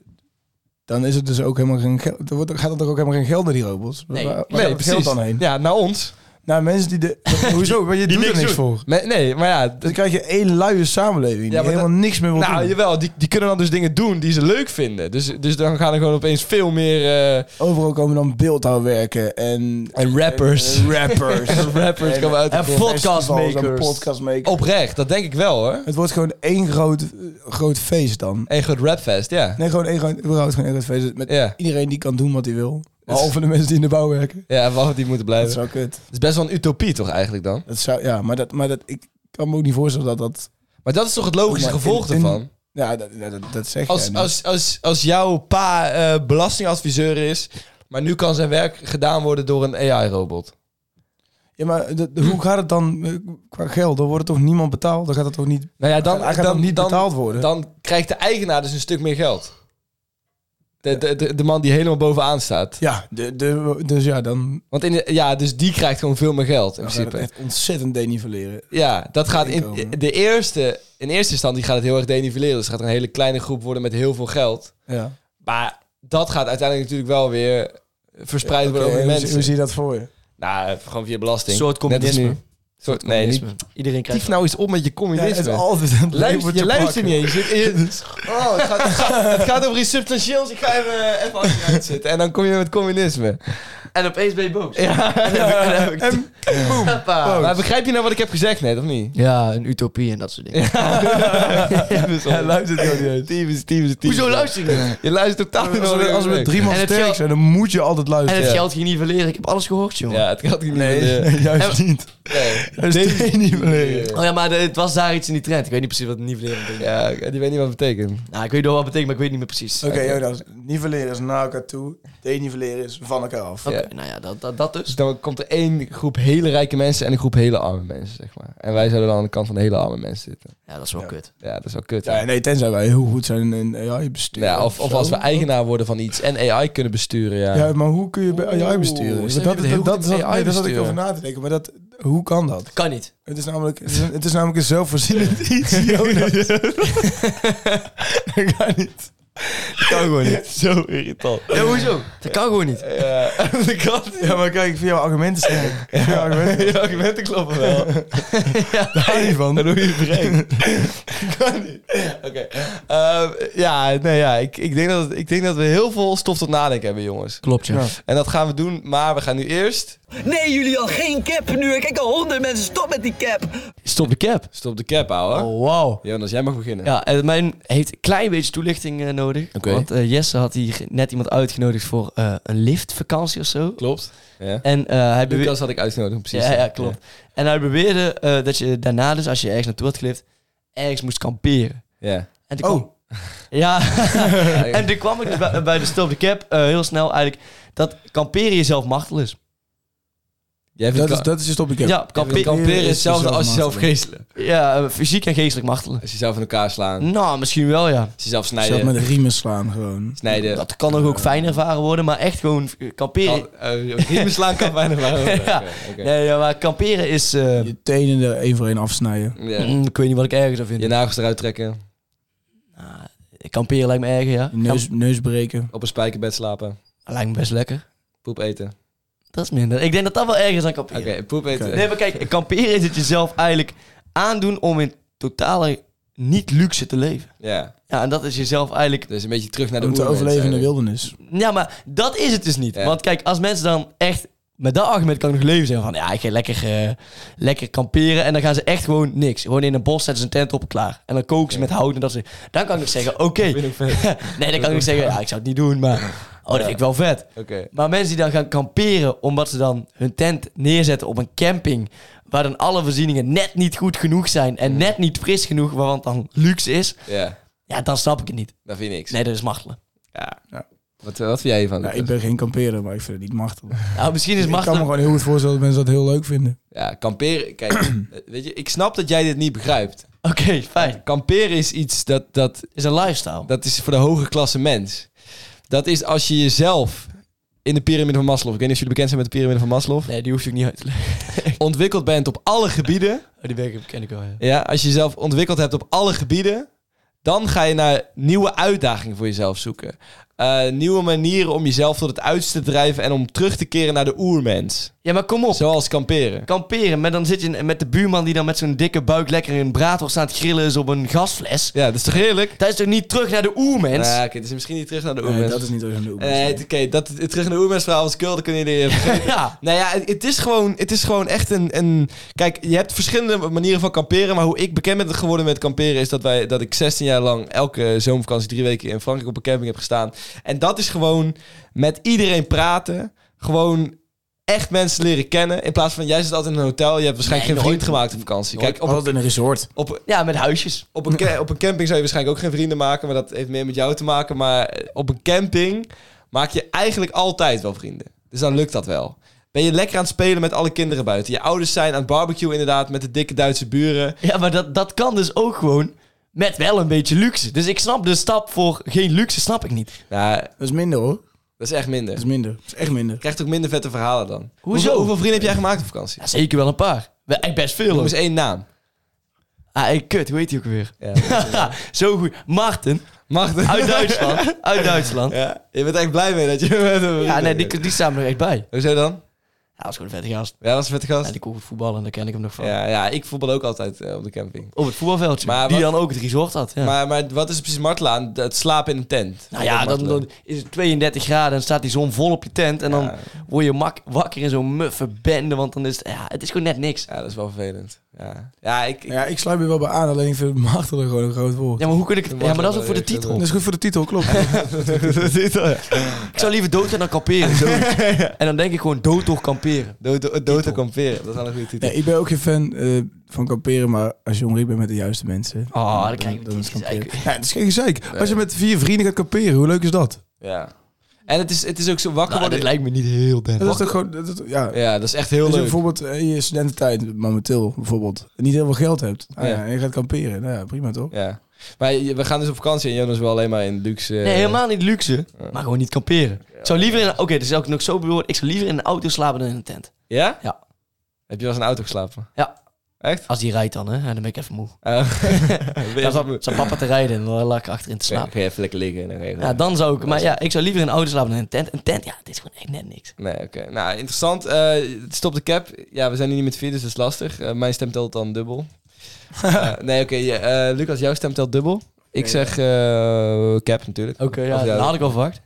[SPEAKER 5] Dan is het dus ook helemaal geen geld. Dan wordt- gaat het toch ook helemaal geen geld naar die robots?
[SPEAKER 4] Nee.
[SPEAKER 5] Waar- waar
[SPEAKER 3] Nee,
[SPEAKER 5] gaat het
[SPEAKER 3] precies.
[SPEAKER 5] geld dan heen?
[SPEAKER 3] Ja, naar ons.
[SPEAKER 5] Nou, mensen die de... Hoezo? Want je doet er
[SPEAKER 4] niks
[SPEAKER 5] niks
[SPEAKER 4] doen.
[SPEAKER 5] voor.
[SPEAKER 3] Me- nee, maar ja... d-
[SPEAKER 5] Dan krijg je één luie samenleving
[SPEAKER 3] Ja,
[SPEAKER 5] die
[SPEAKER 3] maar
[SPEAKER 5] helemaal niks meer wil
[SPEAKER 3] Nou,
[SPEAKER 5] doen.
[SPEAKER 3] jawel, die, die kunnen dan dus dingen doen die ze leuk vinden. Dus, dus dan gaan er gewoon opeens veel meer eh,
[SPEAKER 5] Overal komen dan beeldhouwwerken en...
[SPEAKER 3] En rappers.
[SPEAKER 5] en eh, rappers.
[SPEAKER 3] rappers
[SPEAKER 5] En-
[SPEAKER 3] komen uit. de
[SPEAKER 4] en
[SPEAKER 3] grond.
[SPEAKER 4] vol- Podcastmakers.
[SPEAKER 5] festivals en podcastmakers.
[SPEAKER 3] Oprecht, dat denk ik wel hoor.
[SPEAKER 5] Het wordt gewoon één groot, eh, groot feest dan.
[SPEAKER 3] Een groot rapfest, ja.
[SPEAKER 5] Nee, gewoon één groot, überhaupt gewoon één groot feest. Met
[SPEAKER 3] Ja,
[SPEAKER 5] iedereen die kan doen wat hij wil. Behalve de mensen die in de bouw werken.
[SPEAKER 3] ja wacht, die moeten blijven.
[SPEAKER 5] Dat zou kut.
[SPEAKER 3] Het is best wel een utopie toch eigenlijk dan?
[SPEAKER 5] Dat zou, ja, maar, dat, maar dat, ik kan me ook niet voorstellen dat dat...
[SPEAKER 3] Maar dat is toch het logische
[SPEAKER 5] Maar in-
[SPEAKER 3] gevolg
[SPEAKER 5] in-
[SPEAKER 3] ervan?
[SPEAKER 5] Ja, dat, ja, dat, dat zeg jij
[SPEAKER 3] Als,
[SPEAKER 5] niet.
[SPEAKER 3] als, als, als jouw pa eh, belastingadviseur is, maar nu kan zijn werk gedaan worden door een AI-robot.
[SPEAKER 5] Ja, maar dat- hoe gaat het dan eh, qua geld? Dan wordt het toch niemand betaald? Dan gaat het toch niet...
[SPEAKER 3] Nou ja, dan,
[SPEAKER 5] Hij gaat
[SPEAKER 3] dan,
[SPEAKER 5] dan niet
[SPEAKER 3] dan,
[SPEAKER 5] betaald worden.
[SPEAKER 3] Dan krijgt de eigenaar dus een stuk meer geld. De, de, de, de man die helemaal bovenaan staat.
[SPEAKER 5] Ja, de, de, dus ja, dan
[SPEAKER 3] Want in de- ja, dus die krijgt gewoon veel meer geld in
[SPEAKER 5] dan gaat het
[SPEAKER 3] principe.
[SPEAKER 5] echt ontzettend denivelleren.
[SPEAKER 3] Ja, dat gaat in
[SPEAKER 5] inkomen.
[SPEAKER 3] de eerste, in eerste instantie gaat het heel erg denivelleren. Dus het gaat een hele kleine groep worden met heel veel geld.
[SPEAKER 5] Ja.
[SPEAKER 3] Maar dat gaat uiteindelijk natuurlijk wel weer verspreid worden
[SPEAKER 5] Oké,
[SPEAKER 3] over de
[SPEAKER 5] hoe, zie-
[SPEAKER 3] mensen.
[SPEAKER 5] hoe zie je dat voor je?
[SPEAKER 3] Nou, gewoon via belasting.
[SPEAKER 4] Een soort
[SPEAKER 3] Net als nu.
[SPEAKER 4] communisme.
[SPEAKER 3] Soort, nee, niet.
[SPEAKER 4] Iedereen krijgt...
[SPEAKER 3] Tief nou eens op met je
[SPEAKER 5] Ja, het
[SPEAKER 3] communisme.
[SPEAKER 5] is altijd een
[SPEAKER 3] Luister, je
[SPEAKER 5] labeltje
[SPEAKER 3] luistert
[SPEAKER 5] plakken.
[SPEAKER 3] niet eens. Je zit in- oh, het, gaat, het, gaat, het gaat over iets substantieels. Ik ga even, even achteruit zitten. En dan kom je met communisme.
[SPEAKER 4] En opeens ben je boos.
[SPEAKER 3] Ja.
[SPEAKER 5] En Oh.
[SPEAKER 3] Hoppa. Maar begrijp je nou wat ik heb gezegd net, of niet?
[SPEAKER 4] Ja, een utopie en dat soort dingen.
[SPEAKER 3] Hij luistert ook niet eens. Tyfus, tyfus, tyfus.
[SPEAKER 4] Hoezo luister ik niet?
[SPEAKER 3] Je luistert totaal niet
[SPEAKER 5] als
[SPEAKER 3] naar
[SPEAKER 5] we,
[SPEAKER 3] wat
[SPEAKER 5] als we
[SPEAKER 3] ik
[SPEAKER 5] met drie
[SPEAKER 3] zeg.
[SPEAKER 5] man
[SPEAKER 4] En het
[SPEAKER 5] sterk
[SPEAKER 4] geld-
[SPEAKER 5] zijn, dan moet je altijd
[SPEAKER 4] En
[SPEAKER 5] luisteren.
[SPEAKER 4] het
[SPEAKER 3] Ja.
[SPEAKER 4] geld ging niet verleren. Ik heb alles gehoord, jongen.
[SPEAKER 3] Ja, het gaat niet
[SPEAKER 5] Nee,
[SPEAKER 3] meer.
[SPEAKER 5] nee, juist niet.
[SPEAKER 3] Nee.
[SPEAKER 5] Juist denivelleren.
[SPEAKER 4] Oh ja, maar de- het was daar iets in die trend. Ik weet niet precies wat nivelleren betekent.
[SPEAKER 3] Ja, ik- die weet niet wat het betekent.
[SPEAKER 4] Nou, ik weet wel wat het betekent, maar ik weet niet meer precies.
[SPEAKER 5] Oké,
[SPEAKER 3] eh,
[SPEAKER 5] Jonas. Nivelleren is naar elkaar toe. Denivelleren is van elkaar af.
[SPEAKER 4] Oké,
[SPEAKER 3] Ja.
[SPEAKER 4] nou ja, dat, dat, dat dus.
[SPEAKER 3] Dus dan komt er één groep hele rijke mensen en een groep hele arme mensen, zeg maar. En wij zouden dan aan de kant van de hele arme mensen zitten.
[SPEAKER 4] Ja, dat is wel kut.
[SPEAKER 3] Ja, dat is wel kut. hè?
[SPEAKER 5] Ja, nee, tenzij wij heel goed zijn in AI-bestuur.
[SPEAKER 3] Nou ja, of, of als we eigenaar worden van iets en AI kunnen besturen, ja.
[SPEAKER 5] Ja, maar hoe kun je bij AI
[SPEAKER 3] Oeh,
[SPEAKER 5] besturen?
[SPEAKER 3] we
[SPEAKER 5] Want
[SPEAKER 3] zijn
[SPEAKER 5] dat,
[SPEAKER 3] weer heel
[SPEAKER 5] dat, dat,
[SPEAKER 3] goed
[SPEAKER 5] dat,
[SPEAKER 3] in AI
[SPEAKER 5] nee, daar zat ik
[SPEAKER 3] besturen.
[SPEAKER 5] over na te denken. Maar dat, hoe kan dat?
[SPEAKER 4] Kan niet.
[SPEAKER 5] Het is namelijk, het is, een- het is namelijk een zelfvoorzienend iets, Jonas.
[SPEAKER 3] dat kan niet. Dat kan gewoon niet. Zo irritant.
[SPEAKER 4] Ja, hoezo? Dat kan gewoon niet.
[SPEAKER 3] Ja, dat kan
[SPEAKER 5] Ja, maar kijk, voor jouw argumenten zijn. Ja, jouw argumenten.
[SPEAKER 3] Je argumenten kloppen wel.
[SPEAKER 5] Daar hou je van.
[SPEAKER 3] Dan doe je het brein. kan niet. Oké. Ehm, ja, nee, ja. Ik, ik, denk dat, ik denk dat we heel veel stof tot nadenken hebben, jongens.
[SPEAKER 4] Klopt, ja.
[SPEAKER 3] En dat gaan we doen, maar we gaan nu eerst...
[SPEAKER 7] Nee, jullie al geen cap nu. Ik kijk al honderd mensen. Stop met die cap.
[SPEAKER 4] Stop de cap.
[SPEAKER 3] Stop de cap, ouwe.
[SPEAKER 4] Oh, wauw.
[SPEAKER 3] Jonas, jij mag beginnen.
[SPEAKER 4] Ja, en mijn heeft een klein beetje toelichting eh, nodig.
[SPEAKER 3] Oké.
[SPEAKER 4] Want eh, Jesse had hier net iemand uitgenodigd voor eh, een liftvakantie of zo.
[SPEAKER 3] Klopt. Ja.
[SPEAKER 4] En eh, hij beweerde...
[SPEAKER 3] Lucas had ik uitgenodigd, precies.
[SPEAKER 4] Ja, ja, klopt. En hij beweerde eh, dat je daarna dus, als je ergens naartoe had gelift, ergens moest kamperen.
[SPEAKER 3] Ja.
[SPEAKER 4] En
[SPEAKER 5] Oh,
[SPEAKER 4] toen kwam- Ja, en toen kwam ik dus bij, bij de Stop de Cap eh, heel snel eigenlijk dat kamperen jezelf machtel is.
[SPEAKER 3] Jij vindt
[SPEAKER 5] Dat is, dat is je stop ik heb.
[SPEAKER 4] Ja,
[SPEAKER 3] kampe-
[SPEAKER 4] kamperen,
[SPEAKER 3] kamperen is hetzelfde als jezelf geestelen.
[SPEAKER 4] ja eh, fysiek en geestelijk machtelen.
[SPEAKER 3] Als jezelf in elkaar slaan,
[SPEAKER 4] Nou, misschien wel ja.
[SPEAKER 3] als jezelf
[SPEAKER 5] Zelf
[SPEAKER 3] snijden,
[SPEAKER 5] met de riemen slaan gewoon.
[SPEAKER 3] snijden.
[SPEAKER 4] Dat kan nog ook fijn ervaren worden, maar echt gewoon eh, kamperen.
[SPEAKER 5] Oh,
[SPEAKER 3] Kan- eh, riemen slaan kan weinig waren.
[SPEAKER 4] Ja. Nee, ja, maar kamperen is. eh,
[SPEAKER 5] Je tenen er één voor één afsnijden.
[SPEAKER 3] Ja.
[SPEAKER 4] mm, ik weet niet wat ik erger zou
[SPEAKER 3] Je
[SPEAKER 4] vinden.
[SPEAKER 3] nagels eruit trekken,
[SPEAKER 4] Kamperen lijkt me erger, ja.
[SPEAKER 5] Je neus, neus breken.
[SPEAKER 3] op een spijkerbed slapen,
[SPEAKER 4] Lijkt me best lekker.
[SPEAKER 3] poep eten.
[SPEAKER 4] Dat is minder. Ik denk dat dat wel erger is dan kamperen.
[SPEAKER 3] Oké, poep eten.
[SPEAKER 5] Oké.
[SPEAKER 4] Nee, maar kijk, kamperen is het jezelf eigenlijk aandoen om in totale niet luxe te leven.
[SPEAKER 3] Ja,
[SPEAKER 4] Ja, en dat is jezelf eigenlijk.
[SPEAKER 3] dus een beetje terug naar de
[SPEAKER 5] Om te
[SPEAKER 3] oermens
[SPEAKER 5] overleven in de
[SPEAKER 3] eigenlijk.
[SPEAKER 5] wildernis.
[SPEAKER 4] Ja, maar dat is het dus niet.
[SPEAKER 3] Ja.
[SPEAKER 4] Want kijk, als mensen dan echt met dat argument kan ik nog leven zijn van ja, ik ga lekker, eh, lekker kamperen en dan gaan ze echt gewoon niks. Gewoon in een bos zetten ze een tent op en klaar. En dan koken ze met hout en dat soort dingen. Dan kan ik nog zeggen, oké. nee, dan kan ik nog zeggen, ja, ik zou het niet doen, maar oh, dat vind ik wel vet.
[SPEAKER 3] Oké.
[SPEAKER 4] Maar mensen die dan gaan kamperen omdat ze dan hun tent neerzetten op een camping... waar dan alle voorzieningen net niet goed genoeg zijn... en net niet fris genoeg, waar- want dan luxe is...
[SPEAKER 3] Ja,
[SPEAKER 4] ja, dan snap ik het niet.
[SPEAKER 3] dat vind ik niks.
[SPEAKER 4] Nee, dat is machtelen.
[SPEAKER 3] Ja. Wat, wat vind jij hiervan?
[SPEAKER 5] Nou,
[SPEAKER 3] Lucas?
[SPEAKER 5] ik ben geen kampeerder, maar ik vind het niet machtig.
[SPEAKER 4] Nou, misschien is
[SPEAKER 5] ik kan me
[SPEAKER 4] machtelen...
[SPEAKER 5] gewoon heel goed voorstellen dat mensen dat heel leuk vinden.
[SPEAKER 3] Ja, kamperen. Kijk, eh, weet je, ik snap dat jij dit niet begrijpt.
[SPEAKER 4] Oké, fijn.
[SPEAKER 3] Kamperen is iets dat, dat,
[SPEAKER 4] is een lifestyle.
[SPEAKER 3] dat is voor de hoge klasse mens. Dat is als je jezelf in de piramide van Maslow, ik weet niet of jullie bekend zijn met de piramide van Maslow,
[SPEAKER 4] Nee, die hoef ik niet uit te leggen.
[SPEAKER 3] ontwikkeld bent op alle gebieden.
[SPEAKER 4] Oh, die werken ken ik wel, ja.
[SPEAKER 3] Ja, als je jezelf ontwikkeld hebt op alle gebieden, dan ga je naar nieuwe uitdagingen voor jezelf zoeken. eh, nieuwe manieren om jezelf tot het uiterste te drijven en om terug te keren naar de oermens.
[SPEAKER 4] Ja, maar kom op.
[SPEAKER 3] Zoals kamperen.
[SPEAKER 4] Kamperen, maar dan zit je met de buurman die dan met zo'n dikke buik lekker in een braadworst aan het grillen is op een gasfles.
[SPEAKER 3] Ja, dat is toch heerlijk?
[SPEAKER 4] Dat is toch niet terug naar de
[SPEAKER 3] Nou,
[SPEAKER 4] oermens?
[SPEAKER 3] oké, het is misschien niet terug naar de oermens.
[SPEAKER 5] Nee, dat is niet als een doel.
[SPEAKER 3] Eh, het- Oké, dat het terug naar de oermens verhaal was kul, dat kunnen jullie eh, vergeten.
[SPEAKER 4] ja.
[SPEAKER 3] Nou ja, het is gewoon, het is gewoon echt een, een... Kijk, je hebt verschillende manieren van kamperen. Maar hoe ik bekend ben geworden met kamperen... is dat, wij, dat ik 16 jaar lang elke zomervakantie... drie weken in Frankrijk op een camping heb gestaan. En dat is gewoon met iedereen praten. Gewoon echt mensen leren kennen. In plaats van, jij zit altijd in een hotel. Je hebt waarschijnlijk
[SPEAKER 4] Nee,
[SPEAKER 3] geen
[SPEAKER 4] nooit.
[SPEAKER 3] vriend gemaakt op vakantie. Kijk, op,
[SPEAKER 5] Altijd in een resort.
[SPEAKER 3] op,
[SPEAKER 4] ja, met huisjes.
[SPEAKER 3] op, een, ca- op een camping zou je waarschijnlijk ook geen vrienden maken. Maar dat heeft meer met jou te maken. Maar eh, op een camping maak je eigenlijk altijd wel vrienden. Dus dan lukt dat wel. Ben je lekker aan het spelen met alle kinderen buiten. Je ouders zijn aan het barbecue inderdaad met de dikke Duitse buren.
[SPEAKER 4] Ja, maar dat, dat kan dus ook gewoon met wel een beetje luxe. Dus ik snap de stap voor geen luxe, snap ik niet.
[SPEAKER 3] Nou,
[SPEAKER 5] Dat is minder hoor.
[SPEAKER 3] dat is echt minder.
[SPEAKER 5] Dat
[SPEAKER 3] Je
[SPEAKER 5] is minder. Dat is echt minder.
[SPEAKER 3] krijgt ook minder vette verhalen dan.
[SPEAKER 4] Dus- Hoezo?
[SPEAKER 3] Hoeveel vrienden heb jij gemaakt op vakantie?
[SPEAKER 4] Ja, zeker wel een paar. Wel, Echt best veel.
[SPEAKER 3] Noem
[SPEAKER 4] hoor.
[SPEAKER 3] eens één naam.
[SPEAKER 4] Ah, hey, kut, hoe heet die ook weer?
[SPEAKER 3] Ja.
[SPEAKER 4] Zo goed. Maarten,
[SPEAKER 3] Mag dat?
[SPEAKER 4] uit Duitsland. uit Duitsland. Ja,
[SPEAKER 3] Ja, je bent echt blij mee dat je...
[SPEAKER 4] nee, die, die staan er echt bij.
[SPEAKER 3] Hoezo dan?
[SPEAKER 4] Hij was gewoon een vette gast.
[SPEAKER 3] Ja, dat was een vette gast.
[SPEAKER 4] Ja, die kon goed voetballen, daar ken ik hem nog van.
[SPEAKER 3] Ja, ja, ik voetbal ook altijd eh, op de camping.
[SPEAKER 4] Op het voetbalveldje.
[SPEAKER 3] Maar
[SPEAKER 4] die
[SPEAKER 3] wat-
[SPEAKER 4] dan ook het resort had. Ja.
[SPEAKER 3] Maar, maar wat is precies martelen aan? Het slapen in een tent.
[SPEAKER 4] nou ja, dan, dan is het 32 graden en staat die zon vol op je tent. En dan
[SPEAKER 3] Ja.
[SPEAKER 4] word je mak wakker in zo'n muffe bende. Want dan is het, ja, het is gewoon net niks.
[SPEAKER 3] Ja, dat is wel vervelend. Ja, ja ik... ik-
[SPEAKER 5] Ja, ik sluit me wel bij aan, alleen ik vind martelen gewoon een groot woord.
[SPEAKER 4] Ja, maar hoe kun ik het...
[SPEAKER 3] Dat
[SPEAKER 4] Ja,
[SPEAKER 3] mag
[SPEAKER 4] maar dat is
[SPEAKER 3] wel,
[SPEAKER 4] ook voor de
[SPEAKER 3] ja, ik vind
[SPEAKER 4] titel.
[SPEAKER 5] Dat is goed voor de titel, klopt.
[SPEAKER 4] Ik zou liever dood gaan dan kamperen. zoiets. En dan denk ik gewoon dood door kamperen.
[SPEAKER 3] Dood, dood, dood te kamperen, dat is wel een goede titel.
[SPEAKER 5] Nee, ik ben ook geen fan eh, van kamperen, maar als je omringd bent met de juiste mensen...
[SPEAKER 4] Oh, dan
[SPEAKER 5] dan-
[SPEAKER 4] krijg ik ah,
[SPEAKER 5] dan is
[SPEAKER 4] meteen
[SPEAKER 5] kamperen.
[SPEAKER 4] gezeik.
[SPEAKER 5] Ja, het is geen gezeik. Als je met vier vrienden gaat kamperen, hoe leuk is dat?
[SPEAKER 3] Ja. En het is, het is ook zo wakker
[SPEAKER 4] Nou, dat
[SPEAKER 3] worden...
[SPEAKER 4] lijkt me niet heel
[SPEAKER 5] Dat
[SPEAKER 4] dennis.
[SPEAKER 5] is toch gewoon... dat is- ja,
[SPEAKER 3] Ja, dat is echt heel
[SPEAKER 5] Als je
[SPEAKER 3] leuk.
[SPEAKER 5] bijvoorbeeld eh, in je studententijd, momenteel bijvoorbeeld, niet heel veel geld hebt ah,
[SPEAKER 3] Ja.
[SPEAKER 5] ja, en je gaat kamperen, nou ja, prima toch?
[SPEAKER 3] Ja. Maar je- we gaan dus op vakantie en Jonas wil alleen maar in luxe... eh,
[SPEAKER 4] Nee, helemaal niet luxe. Maar gewoon niet kamperen. Ik zou liever in... Oké, dat is ook nog zo bedoeld. Ik zou liever in een auto slapen dan in een tent.
[SPEAKER 3] Ja?
[SPEAKER 4] Ja.
[SPEAKER 3] Heb je wel eens in een auto geslapen?
[SPEAKER 4] Ja.
[SPEAKER 3] Echt?
[SPEAKER 4] Als die rijdt dan, hè. Ja, Dan ben ik even moe.
[SPEAKER 3] Eh, ben je
[SPEAKER 4] Dan
[SPEAKER 3] moe?
[SPEAKER 4] zat, zat papa te rijden en dan lag ik achterin te
[SPEAKER 3] Ja,
[SPEAKER 4] slapen.
[SPEAKER 3] Ga je even lekker liggen en dan ga je gewoon-
[SPEAKER 4] Ja, dan zou ik... Maar ja, ik zou liever in een auto slapen dan in een tent. Een tent, ja, dit is gewoon echt net niks.
[SPEAKER 3] Nee, oké. Nou, interessant. Eh, stop de cap. Ja, we zijn nu niet met vier, dus dat is lastig. Eh, mijn stem telt dan dubbel. Eh, nee, oké. je- eh, Lucas, jouw stem telt dubbel. Ik zeg eh, cap natuurlijk.
[SPEAKER 4] Oké, ja,
[SPEAKER 3] Of ja,
[SPEAKER 4] dat had ik al verwacht.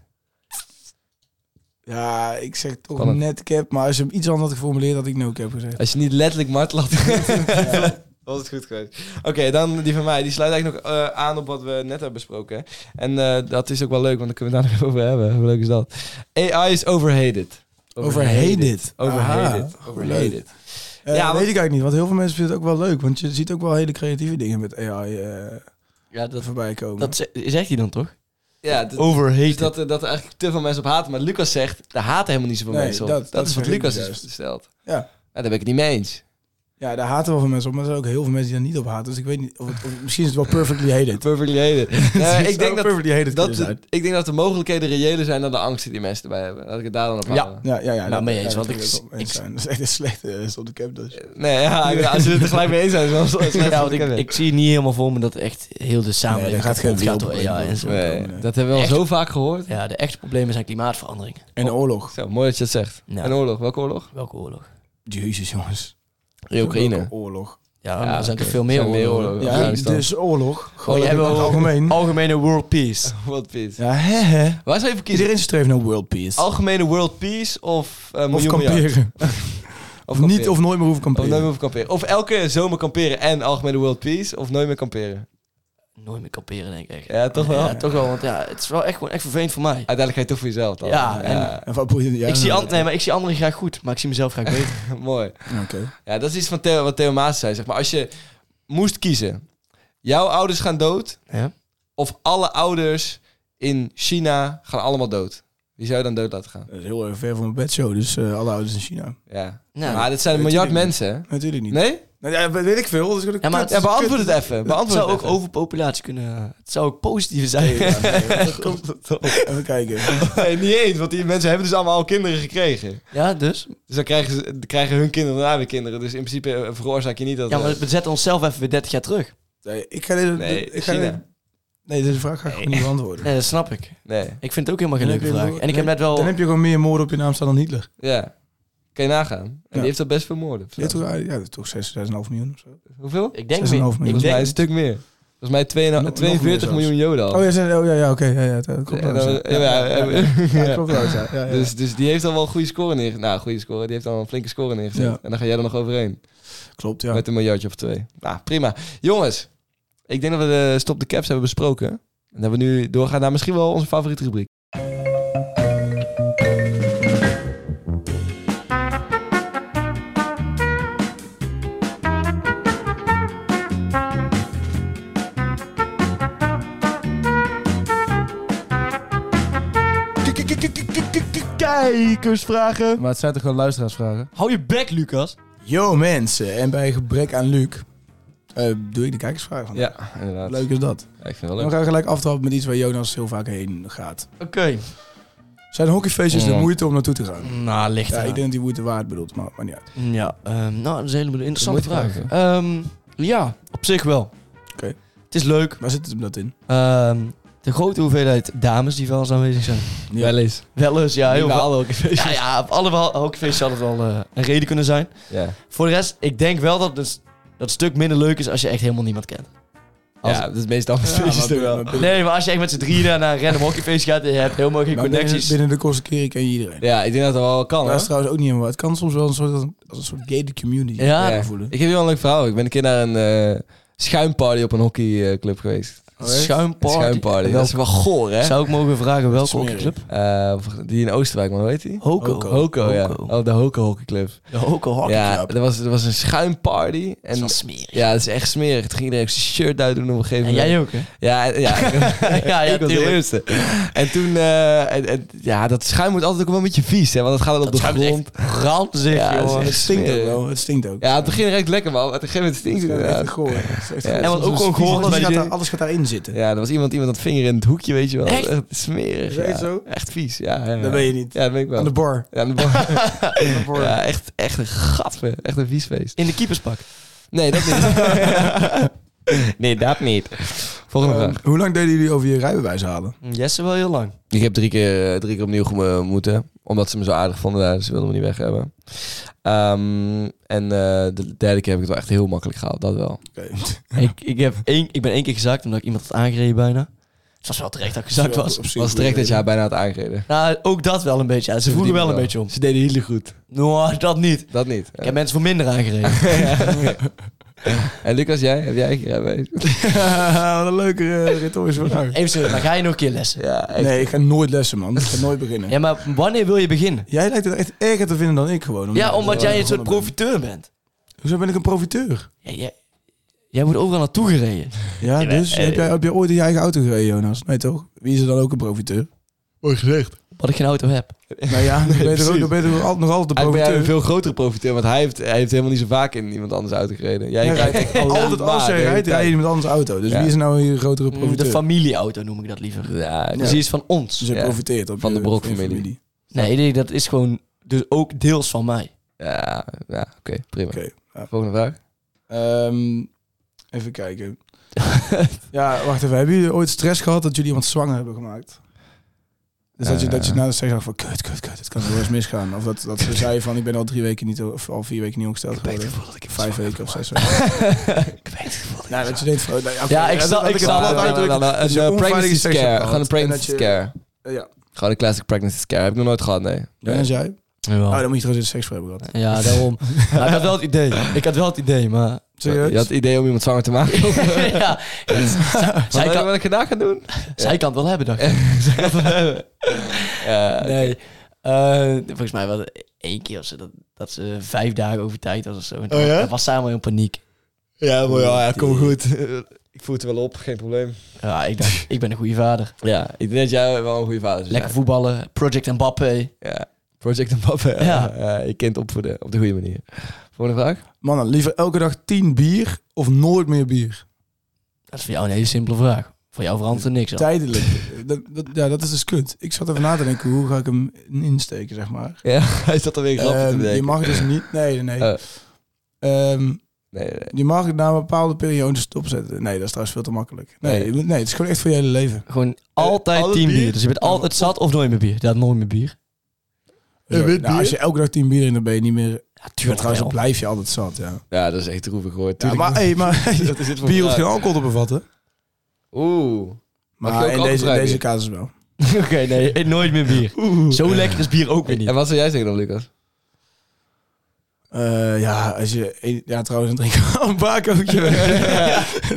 [SPEAKER 5] Ja, ik zeg toch
[SPEAKER 3] Kan het.
[SPEAKER 5] net cap, maar als je hem iets anders had geformuleerd, had ik no cap gezegd.
[SPEAKER 3] Als je niet letterlijk martel had gegooid, was het goed geweest. Oké, dan die van mij. Die sluit eigenlijk nog eh, aan op wat we net hebben besproken. hè. En eh, dat is ook wel leuk, want daar kunnen we het daar nog over hebben. Hoe leuk is dat? AI is overhated.
[SPEAKER 5] Overhated.
[SPEAKER 3] Overhated.
[SPEAKER 4] Ah.
[SPEAKER 5] Aha,
[SPEAKER 3] Overhated.
[SPEAKER 5] Eh,
[SPEAKER 3] Ja,
[SPEAKER 5] weet
[SPEAKER 3] want-
[SPEAKER 5] ik eigenlijk niet, want heel veel mensen vinden het ook wel leuk, want je ziet ook wel hele creatieve dingen met AI eh,
[SPEAKER 4] Ja, dat,
[SPEAKER 5] voorbij
[SPEAKER 3] Hm?
[SPEAKER 5] komen.
[SPEAKER 4] dat ze- zegt hij dan toch?
[SPEAKER 3] Ja, dat- Dus
[SPEAKER 4] Overhated.
[SPEAKER 3] dat, eh, dat er eigenlijk te veel mensen op haten. Maar Lucas zegt, daar haten helemaal niet zoveel
[SPEAKER 5] Nee,
[SPEAKER 3] mensen op. Dat,
[SPEAKER 5] dat- dat
[SPEAKER 3] is wat
[SPEAKER 5] zeg ik
[SPEAKER 3] Lucas
[SPEAKER 5] juist.
[SPEAKER 3] is stelt.
[SPEAKER 5] Ja.
[SPEAKER 3] Nou, daar ben ik het niet mee eens.
[SPEAKER 5] Ja, daar haten wel veel mensen op, maar er zijn ook heel veel mensen die daar niet op haten, dus ik weet niet, of het- of- misschien is het wel perfectly hated.
[SPEAKER 3] Perfectly hated. Eh, ik, denk dat,
[SPEAKER 5] perfectly
[SPEAKER 3] dat
[SPEAKER 5] hated kunnen
[SPEAKER 3] de-
[SPEAKER 5] zijn.
[SPEAKER 3] ik denk dat de mogelijkheden reëler zijn dan de angst die mensen erbij hebben. Laat ik het daar dan op
[SPEAKER 4] Ja.
[SPEAKER 3] houden.
[SPEAKER 5] Ja, ja, ja. dat-
[SPEAKER 4] mee
[SPEAKER 5] ja,
[SPEAKER 4] eens,
[SPEAKER 5] dat
[SPEAKER 4] want
[SPEAKER 5] kan
[SPEAKER 4] ik-
[SPEAKER 5] ook wel mee
[SPEAKER 4] ik-
[SPEAKER 5] zijn. Dat is echt een slechte eh, stond de cap dus.
[SPEAKER 3] Nee, ja, ik- als jullie het er gelijk mee eens zijn, is wel zo- is wel
[SPEAKER 4] Ja, want ik,
[SPEAKER 3] lekker.
[SPEAKER 4] ik zie niet helemaal voor me dat echt heel de
[SPEAKER 5] Nee,
[SPEAKER 4] samenleving
[SPEAKER 5] daar gaat geen
[SPEAKER 4] kapot gaat
[SPEAKER 5] wiel
[SPEAKER 4] door
[SPEAKER 5] op
[SPEAKER 4] AI
[SPEAKER 5] in.
[SPEAKER 4] en zo.
[SPEAKER 3] Nee, dat hebben we al
[SPEAKER 4] Echt?
[SPEAKER 3] zo vaak gehoord.
[SPEAKER 4] Ja, de echte problemen zijn klimaatverandering.
[SPEAKER 5] En oorlog.
[SPEAKER 3] Zo, mooi dat je dat zegt.
[SPEAKER 4] Ja.
[SPEAKER 3] Een oorlog, welke oorlog?
[SPEAKER 4] Welke oorlog?
[SPEAKER 5] Jezus jongens.
[SPEAKER 3] In Oekraïne.
[SPEAKER 5] Welke Oorlog.
[SPEAKER 4] Ja,
[SPEAKER 3] Ja,
[SPEAKER 4] maar er zijn
[SPEAKER 3] oké.
[SPEAKER 4] toch veel meer
[SPEAKER 3] Er zijn meer
[SPEAKER 4] oorlogen.
[SPEAKER 3] oorlogen.
[SPEAKER 5] Ja,
[SPEAKER 3] Afghanistan.
[SPEAKER 5] dus oorlog.
[SPEAKER 4] Oh,
[SPEAKER 5] Gewoon
[SPEAKER 4] jij
[SPEAKER 5] in
[SPEAKER 4] wil Oh.
[SPEAKER 5] het algemeen.
[SPEAKER 4] algemene world peace.
[SPEAKER 3] World Peace.
[SPEAKER 5] Ja, hè, hè.
[SPEAKER 3] Waar zou je voor kiezen?
[SPEAKER 5] Iedereen streeft naar world peace.
[SPEAKER 3] Algemene World Peace of eh
[SPEAKER 5] of
[SPEAKER 3] miljoen miljard?
[SPEAKER 5] kamperen.
[SPEAKER 3] Of
[SPEAKER 5] Niet of nooit meer hoeven
[SPEAKER 3] Of nooit meer
[SPEAKER 5] kamperen.
[SPEAKER 3] hoeven kamperen. Of elke zomer kamperen en algemene World Peace. Of nooit meer kamperen.
[SPEAKER 4] Nooit meer kamperen, denk ik.
[SPEAKER 3] Ja, toch wel?
[SPEAKER 4] Ja, toch wel, want ja, het is wel echt, gewoon echt vervelend voor mij.
[SPEAKER 3] Uiteindelijk ga je toch voor jezelf dan.
[SPEAKER 4] Ja, en-
[SPEAKER 5] En wat boeit het- ja,
[SPEAKER 4] ik, zie
[SPEAKER 5] nou,
[SPEAKER 4] an- nee, maar ik zie anderen graag goed, maar ik zie mezelf graag beter.
[SPEAKER 3] mooi.
[SPEAKER 5] Oké.
[SPEAKER 3] Ja, dat is iets van Theo, wat Theo Maas zei. Zeg maar als je moest kiezen. Jouw ouders gaan dood.
[SPEAKER 4] Ja.
[SPEAKER 3] Of alle ouders in China gaan allemaal dood. Wie zou je dan dood laten gaan?
[SPEAKER 5] Dat is heel erg ver van mijn bedshow, dus eh, alle ouders in China.
[SPEAKER 3] Ja.
[SPEAKER 4] Nou,
[SPEAKER 3] maar dit zijn een
[SPEAKER 5] weet
[SPEAKER 3] miljard
[SPEAKER 5] ik niet.
[SPEAKER 3] mensen. hè?
[SPEAKER 5] Natuurlijk niet.
[SPEAKER 3] Nee?
[SPEAKER 5] Nou ja, weet ik veel. Dus
[SPEAKER 4] Ja, maar
[SPEAKER 3] Ja, beantwoord het even.
[SPEAKER 4] Het
[SPEAKER 3] Beantwoord
[SPEAKER 4] zou
[SPEAKER 3] het
[SPEAKER 4] ook
[SPEAKER 3] even.
[SPEAKER 4] overpopulatie kunnen... Het zou ook positief zijn.
[SPEAKER 5] Even kijken.
[SPEAKER 3] Nee, niet eens, want die mensen hebben dus allemaal al kinderen gekregen.
[SPEAKER 4] Ja, dus?
[SPEAKER 3] Dus dan krijgen, ze, krijgen hun kinderen daarna weer kinderen. Dus in principe eh, veroorzaak je niet dat...
[SPEAKER 4] Ja, maar we zetten onszelf even weer 30 jaar terug.
[SPEAKER 5] Nee, ik ga dit...
[SPEAKER 3] Nee,
[SPEAKER 5] ik ga
[SPEAKER 3] China.
[SPEAKER 5] dit- Nee, deze vraag ga ik gewoon niet beantwoorden.
[SPEAKER 4] Nee, Eh, dat snap ik.
[SPEAKER 3] Nee.
[SPEAKER 4] Ik vind het ook helemaal geen
[SPEAKER 5] Dan
[SPEAKER 4] leuke
[SPEAKER 5] heb je
[SPEAKER 4] vraag.
[SPEAKER 5] wel-
[SPEAKER 4] En ik heb net wel...
[SPEAKER 5] Dan heb je gewoon meer moorden op je naam staan dan Hitler.
[SPEAKER 3] Ja. Kan je nagaan. En die heeft dat best veel moorden.
[SPEAKER 5] Ja, toch, ah, ja, dat is toch 6, 6,5 miljoen of zo.
[SPEAKER 3] Hoeveel?
[SPEAKER 4] Ik denk...
[SPEAKER 5] 6,5
[SPEAKER 4] weer- Ik
[SPEAKER 5] miljoen.
[SPEAKER 3] Volgens
[SPEAKER 5] Volgens
[SPEAKER 3] mij
[SPEAKER 4] denk...
[SPEAKER 3] een stuk meer. Volgens mij 2,
[SPEAKER 5] nog
[SPEAKER 3] 42
[SPEAKER 5] meer
[SPEAKER 3] miljoen joden al.
[SPEAKER 5] Oh ja, ze- oh, ja, ja oké. Ja, ja, dat klopt
[SPEAKER 3] En
[SPEAKER 5] wel
[SPEAKER 3] dan-
[SPEAKER 5] zo.
[SPEAKER 3] ja, ja, ja,
[SPEAKER 5] Ja,
[SPEAKER 3] ja.
[SPEAKER 5] klopt wel zo. Ja, ja, ja.
[SPEAKER 3] Dus, dus die heeft al wel een goede score neergezet. Nou, goede score. Die heeft al een flinke score neergezet.
[SPEAKER 5] Ja.
[SPEAKER 3] En dan ga jij er nog overheen.
[SPEAKER 5] klopt, ja.
[SPEAKER 3] Met een miljardje of twee. Nou, prima. Jongens, ik denk dat we de Stop de Caps hebben besproken. En dat we nu doorgaan naar misschien wel onze favoriete rubriek.
[SPEAKER 4] Kijkersvragen.
[SPEAKER 5] Maar het zijn toch gewoon luisteraarsvragen?
[SPEAKER 4] Hou je bek, Lucas.
[SPEAKER 5] Yo mensen, en bij gebrek aan Luc eh, doe ik de kijkersvraag van.
[SPEAKER 3] Ja, inderdaad.
[SPEAKER 5] Leuk is dat.
[SPEAKER 3] Ja, ik vind het wel
[SPEAKER 5] En we
[SPEAKER 3] leuk.
[SPEAKER 5] gaan gelijk aftrappen met iets waar Jonas heel vaak heen gaat.
[SPEAKER 4] Oké.
[SPEAKER 5] Zijn hockeyfeestjes de
[SPEAKER 3] Ja.
[SPEAKER 5] moeite om naartoe te
[SPEAKER 3] Mm.
[SPEAKER 5] gaan?
[SPEAKER 4] Nou, ligt
[SPEAKER 5] Ja,
[SPEAKER 4] eraan.
[SPEAKER 5] ik denk dat die moeite waard bedoelt, maar, maar niet uit.
[SPEAKER 4] Ja, ehm, nou, dat is een hele interessante
[SPEAKER 3] Een mooie
[SPEAKER 4] vraag.
[SPEAKER 3] vraag,
[SPEAKER 4] Ehm, ja, op zich wel.
[SPEAKER 5] Oké.
[SPEAKER 4] Het is leuk.
[SPEAKER 5] Waar zit hem dat in?
[SPEAKER 4] Ehm, de grote hoeveelheid dames die wel eens aanwezig zijn.
[SPEAKER 5] Ja.
[SPEAKER 3] Wel eens.
[SPEAKER 4] Wel eens, ja, heel
[SPEAKER 3] Niet bij
[SPEAKER 4] veel. Ja, ja, op alle wel- hockeyfeesten zal het wel eh, een reden kunnen zijn.
[SPEAKER 3] Ja,
[SPEAKER 4] Voor de rest, ik denk wel dat het dat stuk minder leuk is als je echt helemaal niemand kent. Als-
[SPEAKER 3] ja dat is meestal een feestje toch wel.
[SPEAKER 4] Nee, maar als je echt met z'n drieën daar naar een random hockeyfeest gaat en je hebt helemaal geen
[SPEAKER 5] Maar binnen,
[SPEAKER 4] connecties.
[SPEAKER 5] binnen de kosten keren ken je iedereen.
[SPEAKER 3] Ja, ik denk dat dat wel kan
[SPEAKER 5] Dat
[SPEAKER 3] hoor.
[SPEAKER 5] is trouwens ook niet helemaal. waar. Het kan soms wel een soort, als een soort gated community
[SPEAKER 4] Ja.
[SPEAKER 5] eh,
[SPEAKER 3] Ja.
[SPEAKER 5] voelen.
[SPEAKER 3] Ik heb hier wel een leuk verhaal. Ik ben een keer naar een eh, schuimparty op een hockeyclub geweest.
[SPEAKER 4] Oh, Schuimparty.
[SPEAKER 3] Schuimparty. Dat is wel goor, hè?
[SPEAKER 4] Zou ik mogen vragen welke
[SPEAKER 5] Smerig.
[SPEAKER 4] hockeyclub?
[SPEAKER 3] Eh, die in Oostenrijk, man. Hoe heet die?
[SPEAKER 4] Hoko.
[SPEAKER 3] Hoko, ja.
[SPEAKER 4] Hoko.
[SPEAKER 3] Oh, de Hoko hockeyclub.
[SPEAKER 4] De Hoko hockey.
[SPEAKER 3] Ja, er was, er was een schuimparty. En
[SPEAKER 4] Dat is wel smerig.
[SPEAKER 3] ja, dat is echt smerig. Toen ging iedereen zijn shirt uitdoen op een gegeven
[SPEAKER 4] En
[SPEAKER 3] moment.
[SPEAKER 4] jij ook, hè?
[SPEAKER 3] Ja, en- ja.
[SPEAKER 4] Ja, ja,
[SPEAKER 3] ik was de
[SPEAKER 4] tuurlijk.
[SPEAKER 3] eerste. En toen, eh, en, en- ja, dat schuim wordt altijd ook wel een beetje vies, hè? Want dat gaat dan op
[SPEAKER 4] Dat
[SPEAKER 3] de
[SPEAKER 4] schuim is
[SPEAKER 3] grond.
[SPEAKER 4] echt ranzig,
[SPEAKER 3] Ja, dat is
[SPEAKER 4] jongen.
[SPEAKER 3] echt
[SPEAKER 5] Het stinkt ook
[SPEAKER 3] smerig.
[SPEAKER 5] wel. Het stinkt ook.
[SPEAKER 3] Ja, op het begin ruikt het lekker, man. Maar op een gegeven moment stinkt het
[SPEAKER 5] Ja, echt
[SPEAKER 3] inderdaad.
[SPEAKER 5] goor. Het is echt
[SPEAKER 3] Ja,
[SPEAKER 5] goor.
[SPEAKER 3] en wat
[SPEAKER 5] Soms
[SPEAKER 3] ook
[SPEAKER 5] is
[SPEAKER 3] gewoon
[SPEAKER 5] het
[SPEAKER 3] goor
[SPEAKER 5] alles
[SPEAKER 3] bij
[SPEAKER 5] gaat,
[SPEAKER 3] die-
[SPEAKER 5] daar- alles gaat daarin zitten.
[SPEAKER 3] Ja, er was iemand, iemand aan het vingeren in het hoekje, weet je wel.
[SPEAKER 4] Echt?
[SPEAKER 3] smerig.
[SPEAKER 5] Is dat
[SPEAKER 3] ja.
[SPEAKER 5] echt zo?
[SPEAKER 3] Echt vies, ja. ja, ja.
[SPEAKER 5] Dat ben je niet.
[SPEAKER 3] Ja, dat ben ik wel.
[SPEAKER 5] Aan de bar.
[SPEAKER 3] Ja, aan de bar.
[SPEAKER 5] Aan de bar.
[SPEAKER 3] ja, echt, echt een gat, man. Echt een vies feest.
[SPEAKER 4] In de keeperspak.
[SPEAKER 3] Nee, dat niet. nee, dat niet. Volgende
[SPEAKER 5] Ehm,
[SPEAKER 3] vraag.
[SPEAKER 5] hoe lang deden jullie over je rijbewijs halen?
[SPEAKER 4] Jesse wel heel lang.
[SPEAKER 3] Ik heb drie keer, eh, drie keer opnieuw gemo- moeten. Omdat ze me zo aardig vonden daar. dus Ze wilden me niet weg hebben. Ehm, en eh, de derde keer heb ik het wel echt heel makkelijk gehaald. Dat wel.
[SPEAKER 5] Oké.
[SPEAKER 4] ik, ik, heb één, ik ben één keer gezakt omdat ik iemand had aangereden bijna. Het was wel terecht dat ik gezakt was.
[SPEAKER 5] Op zich
[SPEAKER 3] was
[SPEAKER 5] goed
[SPEAKER 3] direct dat
[SPEAKER 5] reden.
[SPEAKER 3] je haar bijna had aangereden.
[SPEAKER 4] Nou, ook dat wel een beetje. Ja, ze vroegen wel een beetje om.
[SPEAKER 3] Ze deden heel goed.
[SPEAKER 4] Nou, dat niet.
[SPEAKER 3] Dat niet.
[SPEAKER 4] Ik heb mensen voor minder aangereden.
[SPEAKER 3] en Lucas, jij? Heb jij een keer eh, rijbewijs?
[SPEAKER 5] Wat een leuke eh, retorische vraag.
[SPEAKER 4] Even serieus, maar ga je nog een keer lessen?
[SPEAKER 3] Ja, echt.
[SPEAKER 5] Nee, ik ga nooit lessen, man. Ik ga nooit beginnen.
[SPEAKER 4] Ja, maar wanneer wil je beginnen?
[SPEAKER 5] Jij lijkt het echt erger te vinden dan ik gewoon.
[SPEAKER 4] Ja, omdat jij een
[SPEAKER 5] het
[SPEAKER 4] soort profiteur bent.
[SPEAKER 5] Hoezo ben ik een profiteur?
[SPEAKER 4] Ja, jij, jij wordt overal naartoe gereden.
[SPEAKER 5] Ja, dus heb, jij, heb jij ooit in je eigen auto gereden, Jonas? Nee, toch? Wie is er dan ook een profiteur? Mooi gezegd.
[SPEAKER 4] Wat ik geen auto heb.
[SPEAKER 5] Nou ja, dan ben je, er ook, dan ben je er al- nog altijd de
[SPEAKER 3] Eigenlijk ben jij
[SPEAKER 5] profiteur.
[SPEAKER 3] een veel grotere profiteur, want hij heeft, hij heeft helemaal niet zo vaak in iemand anders uitgereden. Jij
[SPEAKER 5] Jij
[SPEAKER 3] rijdt echt
[SPEAKER 5] rijdt altijd als jij rijdt, rij je in iemand anders auto. Dus
[SPEAKER 3] Ja.
[SPEAKER 5] wie is er nou een grotere
[SPEAKER 4] De
[SPEAKER 5] profiteur?
[SPEAKER 4] familieauto noem ik dat liever.
[SPEAKER 3] Ja,
[SPEAKER 4] Dus die is van ons.
[SPEAKER 5] dus je
[SPEAKER 3] Ja.
[SPEAKER 5] profiteert op
[SPEAKER 3] Van
[SPEAKER 5] je-
[SPEAKER 3] de Brok
[SPEAKER 5] op je
[SPEAKER 3] familie.
[SPEAKER 4] Nee, nee, dat is gewoon dus ook deels van mij.
[SPEAKER 3] Ja, ja oké, prima.
[SPEAKER 5] Oké. ja.
[SPEAKER 3] Volgende vraag.
[SPEAKER 5] Ehm, even kijken. ja, wacht even. Hebben jullie ooit stress gehad dat jullie iemand zwanger hebben gemaakt? Dus dat je, dat je na de seks dacht van kut, kut, kut, het kan zo eens misgaan. Of dat, dat ze zei van ik ben al drie weken niet, of al vier weken niet ongesteld geworden. Vijf weken of zes weken. Nou, dat je denkt van... nou, ja, oké,
[SPEAKER 4] Ja, ik
[SPEAKER 5] dat-
[SPEAKER 4] snap-
[SPEAKER 5] dat
[SPEAKER 4] ik
[SPEAKER 5] het
[SPEAKER 4] snap-
[SPEAKER 5] plat
[SPEAKER 4] ja, ja,
[SPEAKER 5] uitdruk.
[SPEAKER 3] Een eh,
[SPEAKER 5] dat je onveilige
[SPEAKER 3] pregnancy
[SPEAKER 5] seks hebt
[SPEAKER 3] scare.
[SPEAKER 5] gehad
[SPEAKER 3] Gewoon een pregnancy
[SPEAKER 5] en dat je-
[SPEAKER 3] scare.
[SPEAKER 5] Eh, Ja,
[SPEAKER 3] Gewoon een classic pregnancy scare. Heb ik nog nooit gehad, nee.
[SPEAKER 5] Ja, en jij? Oh,
[SPEAKER 4] Ja,
[SPEAKER 5] dan moet je trouwens een seks voor hebben gehad.
[SPEAKER 4] ja daarom. Maar ik had wel het idee. Ik had wel het idee, maar...
[SPEAKER 5] Serieus?
[SPEAKER 3] Je had het idee om iemand zwanger te maken. Wat
[SPEAKER 4] ja, zij,
[SPEAKER 3] kan...
[SPEAKER 4] kan,
[SPEAKER 3] wat ik gedaan gaan doen?
[SPEAKER 4] zij kan het wel hebben, dacht ik.
[SPEAKER 3] Ja,
[SPEAKER 4] Nee. eh, volgens mij was het één keer of zo, dat, dat ze vijf dagen over tijd was of zo. En toen-
[SPEAKER 3] ja?
[SPEAKER 4] Dat was samen in paniek.
[SPEAKER 3] ja, mooi, ja, kom goed. Ik voer het wel op, geen probleem.
[SPEAKER 4] Ja, ik dacht, ik ben een goede vader.
[SPEAKER 3] Ja, ik denk dat jij wel een goede vader bent.
[SPEAKER 4] Lekker voetballen, Project Mbappé.
[SPEAKER 3] Ja. Project Mbappé. Ja.
[SPEAKER 4] Ja.
[SPEAKER 3] Eh, je kind opvoeden op de goede manier. Volgende vraag.
[SPEAKER 5] Mannen, liever elke dag tien bier of nooit meer bier?
[SPEAKER 4] Dat is voor jou een hele simpele vraag. Voor jou verandert er niks aan.
[SPEAKER 5] Tijdelijk. Dat, dat, ja, dat is dus kut. Ik zat even na te denken, hoe ga ik hem insteken, zeg maar.
[SPEAKER 3] Ja, hij zat alweer grappig te
[SPEAKER 5] Ehm, je
[SPEAKER 3] bedenken.
[SPEAKER 5] mag dus niet... Nee, nee, nee.
[SPEAKER 3] Eh.
[SPEAKER 5] Ehm,
[SPEAKER 3] Nee, nee.
[SPEAKER 5] Je mag het na een bepaalde periode stopzetten. Nee, dat is trouwens veel te makkelijk. Nee,
[SPEAKER 3] Nee.
[SPEAKER 5] je moet- nee het is gewoon echt voor je hele leven.
[SPEAKER 4] Gewoon altijd
[SPEAKER 3] alle
[SPEAKER 4] tien bier.
[SPEAKER 3] bier?
[SPEAKER 4] Dus je bent altijd zat of nooit meer bier. Ja, nooit meer bier.
[SPEAKER 5] Zo,
[SPEAKER 3] wit
[SPEAKER 5] nou,
[SPEAKER 3] bier?
[SPEAKER 5] als je elke dag tien bier in, dan ben je niet meer... Maar
[SPEAKER 4] Natuurlijk
[SPEAKER 5] trouwens, dan blijf je altijd zat, ja.
[SPEAKER 3] Ja, dat is echt droevig hoor.
[SPEAKER 5] ja
[SPEAKER 3] Tuurlijk
[SPEAKER 5] maar, hey, maar
[SPEAKER 3] dat is het voor
[SPEAKER 5] bier hoeft geen
[SPEAKER 3] vraag.
[SPEAKER 5] alcohol te bevatten.
[SPEAKER 3] Oeh. Mag je
[SPEAKER 5] Maar
[SPEAKER 3] ook
[SPEAKER 5] in deze,
[SPEAKER 3] alcoholvrij
[SPEAKER 5] deze
[SPEAKER 3] bier?
[SPEAKER 5] casus wel.
[SPEAKER 4] Oké, nee, eh, nooit meer bier. Zo lekker is bier ook weer niet.
[SPEAKER 3] En wat zou jij zeggen dan, Lucas?
[SPEAKER 5] Eh, ja, als je... één- Ja, trouwens, dan drink ik wel een baarkootje. nee,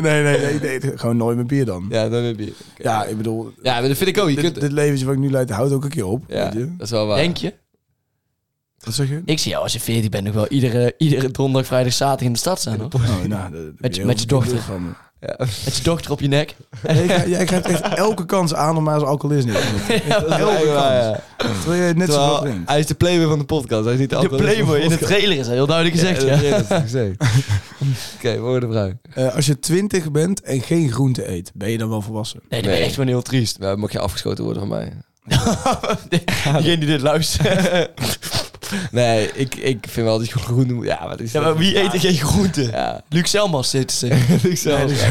[SPEAKER 5] nee, nee, nee, nee, Gewoon nooit meer bier dan.
[SPEAKER 3] Ja, dan heb je.
[SPEAKER 5] Ja, ik bedoel...
[SPEAKER 3] Ja, maar dat vind ik ook. Je
[SPEAKER 5] dit,
[SPEAKER 3] kunt...
[SPEAKER 5] dit leventje wat ik nu leid, houdt ook een keer op.
[SPEAKER 3] ja,
[SPEAKER 5] Weet je?
[SPEAKER 3] dat is wel waar.
[SPEAKER 4] Denk je?
[SPEAKER 5] Wat zeg je?
[SPEAKER 4] Ik zie jou als je 14 bent nog wel iedere, iedere donderdag, vrijdag, zaterdag in de stad staan. Hoor.
[SPEAKER 5] Oh, nou, dat- dat
[SPEAKER 4] Met je-
[SPEAKER 5] heel
[SPEAKER 4] met je
[SPEAKER 5] veel
[SPEAKER 4] dochter.
[SPEAKER 5] van me.
[SPEAKER 3] Ja.
[SPEAKER 4] Met je dochter op je nek.
[SPEAKER 5] Jij, jij- jij krijgt echt elke kans aan om maar als alcoholist neer te zitten.
[SPEAKER 3] Dat is
[SPEAKER 5] Elke
[SPEAKER 3] wel waar,
[SPEAKER 5] kans.
[SPEAKER 3] ja.
[SPEAKER 5] Terwijl je net zo
[SPEAKER 3] Terwijl
[SPEAKER 5] wat drinkt.
[SPEAKER 3] hij is de playboy van de podcast. Hij is niet de
[SPEAKER 4] De
[SPEAKER 3] alcoholist van
[SPEAKER 4] playboy in de
[SPEAKER 3] podcast.
[SPEAKER 4] trailer is al heel duidelijk gezegd. Ja,
[SPEAKER 3] Ja, dat is het gezegd. Oké, woordenbruik.
[SPEAKER 5] Eh, als je twintig bent en geen groente eet, ben je dan wel volwassen?
[SPEAKER 4] Nee, dat is
[SPEAKER 3] Nee.
[SPEAKER 4] echt wel heel triest.
[SPEAKER 3] Nou, dan moet je afgeschoten worden van mij.
[SPEAKER 4] Degene die dit luistert.
[SPEAKER 3] Nee, ik, ik vind wel dat je groen moet. Ja, wat is
[SPEAKER 4] Ja,
[SPEAKER 3] dat?
[SPEAKER 4] maar wie eet er geen groenten?
[SPEAKER 3] Ja.
[SPEAKER 4] Luc Selmas zit ze.
[SPEAKER 3] Ik zelf.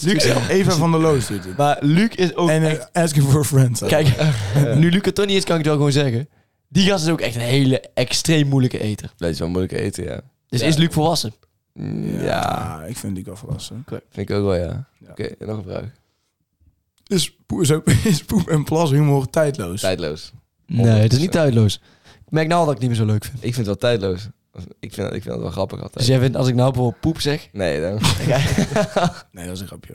[SPEAKER 5] Luc, Eva van der Loos doet het.
[SPEAKER 4] Maar Luc is ook
[SPEAKER 5] En
[SPEAKER 4] echt...
[SPEAKER 5] eh, asking for a friend.
[SPEAKER 4] Kijk, nu Luc het toch niet is, kan ik het wel gewoon zeggen. Die gast is ook echt een hele extreem moeilijke eter.
[SPEAKER 3] Dat is wel moeilijk eten, ja.
[SPEAKER 4] Dus is Luc volwassen?
[SPEAKER 3] Mm, Ja,
[SPEAKER 5] Ja, ik vind die wel volwassen.
[SPEAKER 3] vind ik ook wel, ja.
[SPEAKER 5] Ja.
[SPEAKER 3] Oké, nog een vraag.
[SPEAKER 5] Is, poe- is ook- is poep en plas humor tijdloos?
[SPEAKER 3] Tijdloos.
[SPEAKER 4] Nee, het is niet tijdloos. Ik merk nou al dat ik het niet meer zo leuk vind.
[SPEAKER 3] Ik vind het wel tijdloos. Ik vind, ik vind het wel grappig
[SPEAKER 4] Dus
[SPEAKER 3] altijd.
[SPEAKER 4] jij vindt, als ik nou bijvoorbeeld poep zeg...
[SPEAKER 3] Nee, dan,
[SPEAKER 5] Nee, dat is een grapje.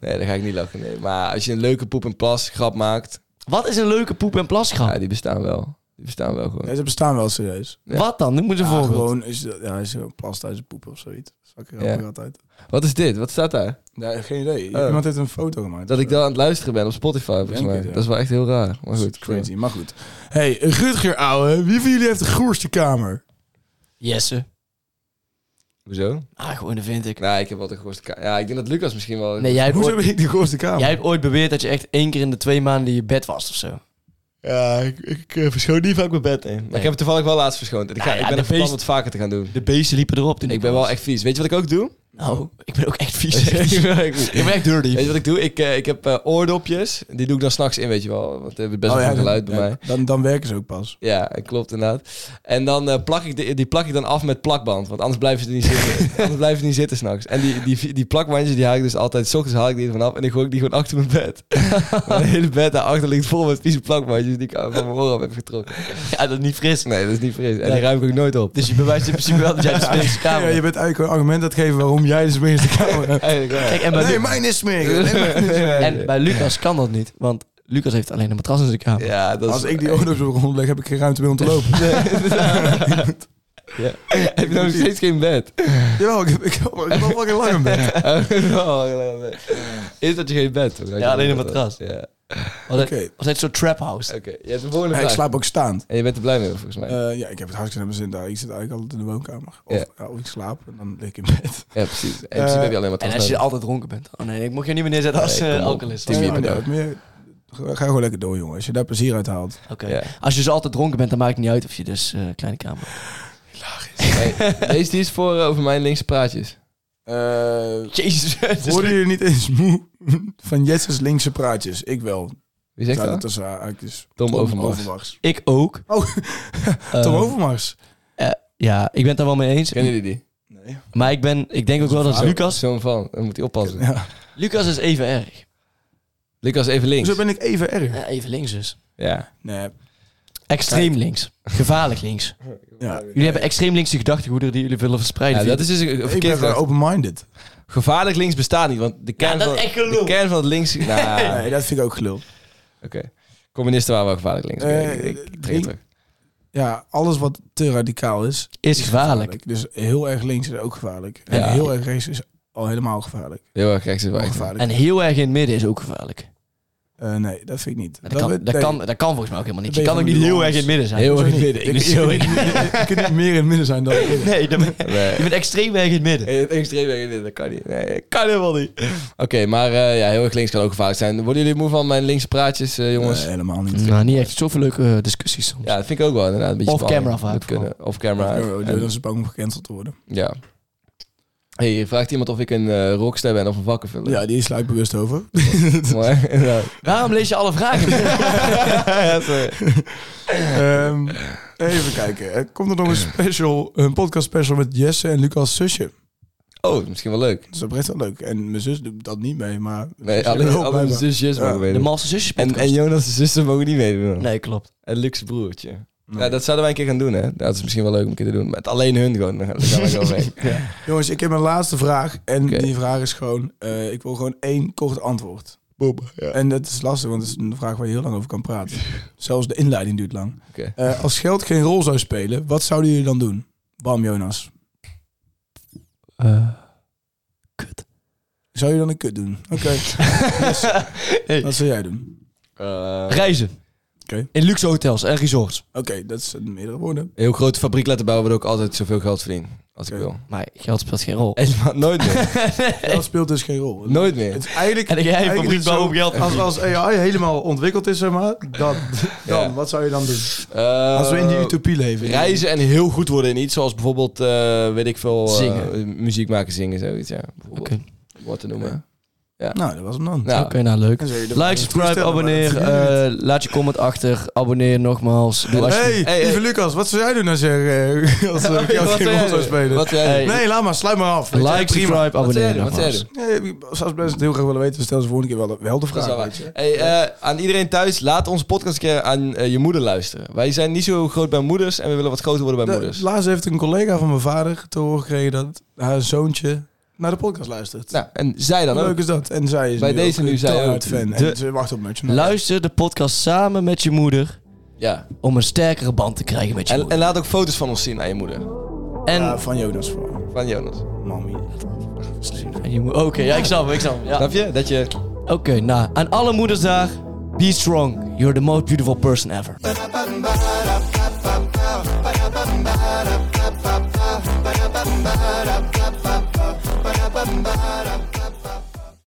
[SPEAKER 3] nee, dan ga ik niet lachen. Nee. Maar als je een leuke poep en plas grap maakt,
[SPEAKER 4] Wat is een leuke poep- en plasgrap?
[SPEAKER 3] ja, die bestaan wel. Die bestaan wel gewoon.
[SPEAKER 5] Nee, ze bestaan wel serieus.
[SPEAKER 3] ja.
[SPEAKER 4] Wat dan? Nu moet je een
[SPEAKER 5] Ja,
[SPEAKER 4] voorbeeld.
[SPEAKER 5] gewoon is, ja, is er plas tijdens het poepen of zoiets. Dat is
[SPEAKER 3] Ja.
[SPEAKER 5] ja. altijd.
[SPEAKER 3] Wat is dit? Wat staat daar?
[SPEAKER 5] Ja, geen idee.
[SPEAKER 3] Oh.
[SPEAKER 5] Iemand heeft een foto gemaakt. Eh,
[SPEAKER 3] Dat ik
[SPEAKER 5] dat
[SPEAKER 3] dan aan het luisteren ben op Spotify, volgens
[SPEAKER 5] Denk
[SPEAKER 3] mij.
[SPEAKER 5] het, ja.
[SPEAKER 3] Dat is wel echt heel raar. Maar goed.
[SPEAKER 5] Crazy, maar goed. Hey, Rutger ouwe, wie van jullie heeft de groerste kamer?
[SPEAKER 4] Jesse.
[SPEAKER 3] Hoezo?
[SPEAKER 4] Ah, gewoon, dat vind ik.
[SPEAKER 3] Nou, ik heb wel de grootste ka- Ja, ik denk dat Lucas misschien wel...
[SPEAKER 4] Nee, jij hebt,
[SPEAKER 5] Hoezo
[SPEAKER 4] ooit,
[SPEAKER 5] ben ik de grootste kamer?
[SPEAKER 4] jij hebt ooit beweerd dat je echt één keer in de twee maanden in je bed was of zo.
[SPEAKER 3] Ja, ik, ik eh, verschoon niet vaak mijn bed in. Maar ik heb het toevallig wel laatst verschoond. Ik, ga,
[SPEAKER 4] Nou ja,
[SPEAKER 3] ik ben
[SPEAKER 4] de
[SPEAKER 3] een plan om
[SPEAKER 4] feest-
[SPEAKER 3] het vaker te gaan doen.
[SPEAKER 4] De beesten liepen erop toen
[SPEAKER 3] Ik ben
[SPEAKER 4] was.
[SPEAKER 3] wel echt vies. Weet je wat ik ook doe?
[SPEAKER 4] Nou, ik ben ook echt vies.
[SPEAKER 3] ik ben echt vies.
[SPEAKER 4] ik ben echt dirty.
[SPEAKER 3] Weet je wat ik doe? Ik, eh, ik heb eh, oordopjes. Die doe ik dan s'nachts in, weet je wel. Want die hebben
[SPEAKER 4] Oh
[SPEAKER 3] best wel veel geluid bij mij.
[SPEAKER 5] Oh Dan, dan werken ze ook pas.
[SPEAKER 3] Ja, eh, klopt inderdaad. En dan eh, plak ik de, die plak ik dan af met plakband. Want anders blijven ze er niet zitten. anders blijven ze niet zitten s'nachts. En die, die, die plakbandjes die haal ik dus altijd. S ochtends haal ik die ervan af. En dan gooi ik die gewoon achter mijn bed. mijn hele bed daarachter ligt vol met vieze plakbandjes. Die ik van mijn oren af heb getrokken.
[SPEAKER 4] Ja, dat is niet fris.
[SPEAKER 3] Nee, dat is niet fris. En
[SPEAKER 4] Nee.
[SPEAKER 3] die ruim ik ook nooit op.
[SPEAKER 4] Dus je bewijst in principe wel dat jij de smerigste
[SPEAKER 5] Ja,
[SPEAKER 4] kamer
[SPEAKER 5] je
[SPEAKER 4] hebt.
[SPEAKER 5] bent eigenlijk een argument aan het geven waarom jij de smerigste kamer hebt.
[SPEAKER 3] Eigenlijk wel.
[SPEAKER 4] Kijk, en bij,
[SPEAKER 5] Nee,
[SPEAKER 4] Lu-
[SPEAKER 5] mijn is smerig. Nee, mijn is-
[SPEAKER 4] en bij Lucas kan dat niet. Want Lucas heeft alleen een matras in zijn kamer.
[SPEAKER 3] Ja, dat
[SPEAKER 5] Als
[SPEAKER 3] is...
[SPEAKER 5] ik die oorlogs op de grond leg, heb ik geen ruimte meer om te lopen.
[SPEAKER 3] Ja. Heb je nou nog steeds geen bed? Oh,
[SPEAKER 5] Jawel, ik heb, ik heb, ik heb al fucking lang een bed.
[SPEAKER 3] Is dat je geen bed? hebt?
[SPEAKER 4] Ja, alleen een matras.
[SPEAKER 3] Ja,
[SPEAKER 4] Altijd,
[SPEAKER 5] Oké.
[SPEAKER 4] altijd zo'n trap house.
[SPEAKER 3] oké. Je hebt een volgende
[SPEAKER 5] Ja, ik
[SPEAKER 3] vraag.
[SPEAKER 5] slaap ook staand.
[SPEAKER 3] En je bent er blij mee, volgens mij.
[SPEAKER 5] Eh, ja, ik heb het hartstikke naar mijn zin daar. Ik zit eigenlijk altijd in de woonkamer. Of,
[SPEAKER 3] Ja.
[SPEAKER 5] ja, of ik slaap en dan lig ik in bed.
[SPEAKER 3] ja, precies. En in
[SPEAKER 5] eh,
[SPEAKER 3] principe heb je alleen maar
[SPEAKER 4] En als je
[SPEAKER 3] nodig.
[SPEAKER 4] altijd dronken bent. Oh nee, ik mocht je niet meer neerzetten als
[SPEAKER 3] Nee,
[SPEAKER 4] eh,
[SPEAKER 3] kom op.
[SPEAKER 4] alcoholist.
[SPEAKER 3] Tien
[SPEAKER 5] Ja,
[SPEAKER 3] bier per
[SPEAKER 5] maar
[SPEAKER 3] dag.
[SPEAKER 5] dat meer- Ga ga gewoon lekker door, jongen. Als je daar plezier uit haalt.
[SPEAKER 4] Oké.
[SPEAKER 3] Ja.
[SPEAKER 4] Als je dus altijd dronken bent, dan maakt het niet uit of je dus eh, kleine kamer hebt.
[SPEAKER 3] Hey, Deze die is voor eh, over mijn linkse praatjes.
[SPEAKER 5] Eh
[SPEAKER 4] Jezus. Dus het is-
[SPEAKER 5] Hoorden jullie niet eens moe van Jesse's linkse praatjes? Ik wel.
[SPEAKER 3] Wie zegt
[SPEAKER 5] Zou
[SPEAKER 3] dat?
[SPEAKER 5] tussen haar haakjes.
[SPEAKER 3] Tom Overmars.
[SPEAKER 4] Ik ook.
[SPEAKER 5] Oh,
[SPEAKER 4] Eh,
[SPEAKER 5] Tom Overmars.
[SPEAKER 4] eh, ja, ik ben het daar wel mee eens.
[SPEAKER 3] Kennen jullie die?
[SPEAKER 5] Nee.
[SPEAKER 4] Maar ik, ben, ik denk ook wel dat
[SPEAKER 3] Zo-
[SPEAKER 4] Lucas...
[SPEAKER 3] Zo'n van. Dan moet hij oppassen.
[SPEAKER 5] Ja.
[SPEAKER 4] Lucas is even erg.
[SPEAKER 3] Lucas, even links.
[SPEAKER 5] Zo ben ik even erg.
[SPEAKER 4] Ja, even links dus.
[SPEAKER 3] Ja.
[SPEAKER 5] Nee.
[SPEAKER 4] Extreem links. Gevaarlijk links.
[SPEAKER 5] Ja.
[SPEAKER 4] Jullie hebben extreem linkse gedachtegoederen die jullie willen verspreiden.
[SPEAKER 3] ja, dat is dus een- een
[SPEAKER 5] Ik ben
[SPEAKER 3] verkeerd.
[SPEAKER 5] gewoon open-minded.
[SPEAKER 3] Gevaarlijk links bestaat niet, want de kern,
[SPEAKER 4] dat
[SPEAKER 3] van,
[SPEAKER 4] is echt gelul.
[SPEAKER 3] de kern van het links... Nou,
[SPEAKER 5] Nee, dat vind ik ook gelul.
[SPEAKER 3] Oké. Communisten waren wel gevaarlijk links. Oké,
[SPEAKER 5] Eh,
[SPEAKER 3] ik, ik trek het
[SPEAKER 5] link-
[SPEAKER 3] terug.
[SPEAKER 5] Ja, alles wat te radicaal is,
[SPEAKER 4] is gevaarlijk.
[SPEAKER 5] Dus heel erg links is ook gevaarlijk. En
[SPEAKER 3] Ja.
[SPEAKER 5] heel erg rechts is al helemaal gevaarlijk.
[SPEAKER 3] Heel erg rechts is wel echt-
[SPEAKER 5] Ongevaarlijk.
[SPEAKER 4] En heel erg in het midden is ook gevaarlijk.
[SPEAKER 5] Eh, nee, dat vind ik niet.
[SPEAKER 4] Dat, kan,
[SPEAKER 5] weet-
[SPEAKER 4] dat,
[SPEAKER 5] nee.
[SPEAKER 4] kan, dat kan volgens mij ook helemaal niet. Je
[SPEAKER 5] Dan ben
[SPEAKER 4] kan
[SPEAKER 5] je
[SPEAKER 4] ook niet
[SPEAKER 5] van
[SPEAKER 4] heel
[SPEAKER 5] de
[SPEAKER 4] erg in
[SPEAKER 5] nuance.
[SPEAKER 4] het midden zijn.
[SPEAKER 3] Heel erg in het
[SPEAKER 5] Hoezo
[SPEAKER 3] midden.
[SPEAKER 5] niet?
[SPEAKER 3] Ik-
[SPEAKER 5] Ik- ik- ik- Ik kan niet meer in het midden zijn dan in het midden.
[SPEAKER 4] Nee, dan ben-
[SPEAKER 3] Nee.
[SPEAKER 4] je bent extreem erg in het midden.
[SPEAKER 3] Eh, Extreem erg in, dat kan niet. Nee, dat kan helemaal niet. Oké, maar eh, ja, heel erg links kan ook gevaarlijk zijn. Worden jullie moe van mijn linkse praatjes, eh, jongens?
[SPEAKER 5] Nee, helemaal niet.
[SPEAKER 4] Nou, niet echt. Zoveel leuke eh, discussies soms.
[SPEAKER 3] Ja, dat vind ik ook wel inderdaad. Een beetje
[SPEAKER 4] Off
[SPEAKER 3] spannend.
[SPEAKER 4] camera vaak
[SPEAKER 3] Moet kunnen. Off camera.
[SPEAKER 5] Oh, joh,
[SPEAKER 3] En-
[SPEAKER 5] Dan is het bang om gecanceld te worden.
[SPEAKER 3] ja. Hey, hier vraagt iemand of ik een eh, rockster ben of een vakkenvuller.
[SPEAKER 5] Ja, die sla ik bewust over.
[SPEAKER 3] Mooi. ja.
[SPEAKER 4] Waarom lees je alle vragen?
[SPEAKER 3] Ja, sorry.
[SPEAKER 5] Ehm, even kijken. Er Komt er nog een special, een podcast special met Jesse en Lucas' zusje?
[SPEAKER 3] Oh, dat is misschien wel leuk.
[SPEAKER 5] Dat is oprecht wel leuk. En mijn zus doet dat niet mee, maar...
[SPEAKER 3] Nee, alleen,
[SPEAKER 5] Wel,
[SPEAKER 3] alleen de
[SPEAKER 5] blijkbaar.
[SPEAKER 3] zusjes
[SPEAKER 5] Ja,
[SPEAKER 3] mogen
[SPEAKER 4] De
[SPEAKER 3] meedoen.
[SPEAKER 4] Malse Zusjes
[SPEAKER 3] En,
[SPEAKER 4] podcast.
[SPEAKER 3] en Jonas' zussen mogen niet meedoen.
[SPEAKER 4] Nee, klopt.
[SPEAKER 3] En Luxe broertje. Ja, dat zouden wij een keer gaan doen, hè? Dat is misschien wel leuk om een keer te doen. Met alleen hun gewoon. Dan gaan we gewoon weg. Ja.
[SPEAKER 5] Jongens, ik heb een laatste vraag. En
[SPEAKER 3] Oké.
[SPEAKER 5] die vraag is gewoon... eh, ik wil gewoon één kort antwoord. En dat is lastig, want het is een vraag waar je heel lang over kan praten. Zelfs de inleiding duurt lang.
[SPEAKER 3] Oké.
[SPEAKER 5] Eh, als geld geen rol zou spelen, wat zouden jullie dan doen? Bam, Jonas.
[SPEAKER 4] Eh, kut.
[SPEAKER 5] Zou je dan een kut doen? Oké.
[SPEAKER 4] Hey.
[SPEAKER 5] Wat zou jij doen?
[SPEAKER 3] Eh,
[SPEAKER 4] Reizen.
[SPEAKER 5] Oké.
[SPEAKER 4] In luxe hotels en resorts.
[SPEAKER 5] Oké, dat zijn meerdere woorden.
[SPEAKER 3] een heel grote fabriek laten bouwen, waardoor ik altijd zoveel geld verdien. Als ik
[SPEAKER 5] Oké.
[SPEAKER 3] wil.
[SPEAKER 4] Maar geld speelt geen rol.
[SPEAKER 3] Helemaal nooit meer.
[SPEAKER 5] Dat speelt dus geen rol.
[SPEAKER 3] nooit meer.
[SPEAKER 5] Het is eigenlijk,
[SPEAKER 4] En ik- jij
[SPEAKER 5] eigenlijk
[SPEAKER 4] fabriek
[SPEAKER 5] is het zo,
[SPEAKER 4] bouwen om geld te
[SPEAKER 5] Als, als AI helemaal ontwikkeld is, zeg maar, dan, dan
[SPEAKER 3] Ja.
[SPEAKER 5] wat zou je dan doen?
[SPEAKER 3] Eh,
[SPEAKER 5] Als we in die utopie leven.
[SPEAKER 3] Reizen en heel goed worden in iets, zoals bijvoorbeeld, eh, weet ik veel, eh,
[SPEAKER 4] Zingen.
[SPEAKER 3] muziek maken, zingen, zoiets, ja. Bijvoorbeeld,
[SPEAKER 4] Oké.
[SPEAKER 3] Wat te noemen.
[SPEAKER 5] Nou, dat was hem dan.
[SPEAKER 3] Nou,
[SPEAKER 4] Oké, nou leuk.
[SPEAKER 5] Dan zou je er-
[SPEAKER 4] Like, subscribe,
[SPEAKER 5] toestellen, maar dat
[SPEAKER 4] abonneer.
[SPEAKER 5] gebeurt niet.
[SPEAKER 4] eh, laat je comment achter. Abonneer nogmaals. Doe alsjeblieft.
[SPEAKER 5] hey,
[SPEAKER 3] Hey, hey.
[SPEAKER 5] lieve Lucas, wat zou jij doen als je eh, als, eh,
[SPEAKER 3] Wat
[SPEAKER 5] jou
[SPEAKER 3] zou
[SPEAKER 5] geen
[SPEAKER 3] jij
[SPEAKER 5] rol zou
[SPEAKER 3] doen?
[SPEAKER 5] spelen?
[SPEAKER 3] Wat jij
[SPEAKER 4] Hey,
[SPEAKER 5] Nee, laat maar, sluit maar af. Weet je,
[SPEAKER 4] Like,
[SPEAKER 5] prima.
[SPEAKER 4] subscribe,
[SPEAKER 3] Wat zei
[SPEAKER 4] abonneer
[SPEAKER 3] je? Wat zei
[SPEAKER 4] nogmaals.
[SPEAKER 3] je?
[SPEAKER 5] Nee, ik zou best heel graag willen weten. Stel ze volgende keer wel, wel de
[SPEAKER 3] Dat
[SPEAKER 5] vraag.
[SPEAKER 3] is wel waar.
[SPEAKER 5] weet je.
[SPEAKER 3] Hey, eh, aan iedereen thuis, laat onze podcast een keer aan eh, je moeder luisteren. Wij zijn niet zo groot bij moeders en we willen wat groter worden bij
[SPEAKER 5] De-
[SPEAKER 3] moeders.
[SPEAKER 5] laatst heeft een collega van mijn vader te horen gekregen dat haar zoontje naar de podcast luistert.
[SPEAKER 3] Nou, en zij dan
[SPEAKER 5] Hoe
[SPEAKER 3] ook.
[SPEAKER 5] leuk is dat? En zij is
[SPEAKER 3] Bij deze nu zij
[SPEAKER 5] zij
[SPEAKER 3] ook.
[SPEAKER 5] fan.
[SPEAKER 4] De-
[SPEAKER 5] En ze wacht op Merchandise.
[SPEAKER 4] Luister de podcast samen met je moeder.
[SPEAKER 3] Ja.
[SPEAKER 4] Om een sterkere band te krijgen met je
[SPEAKER 3] En,
[SPEAKER 4] moeder.
[SPEAKER 3] en laat ook foto's van ons zien aan je moeder.
[SPEAKER 4] En,
[SPEAKER 5] Ja, eh, van Jonas vooral.
[SPEAKER 3] Van Jonas.
[SPEAKER 5] Mami.
[SPEAKER 4] en je moe- Oké, ja, ik snap hem, ik snap hem. Ja.
[SPEAKER 3] Snap je? Dat je...
[SPEAKER 4] Oké, nou, aan alle moeders daar. Be strong. You're the most beautiful person ever.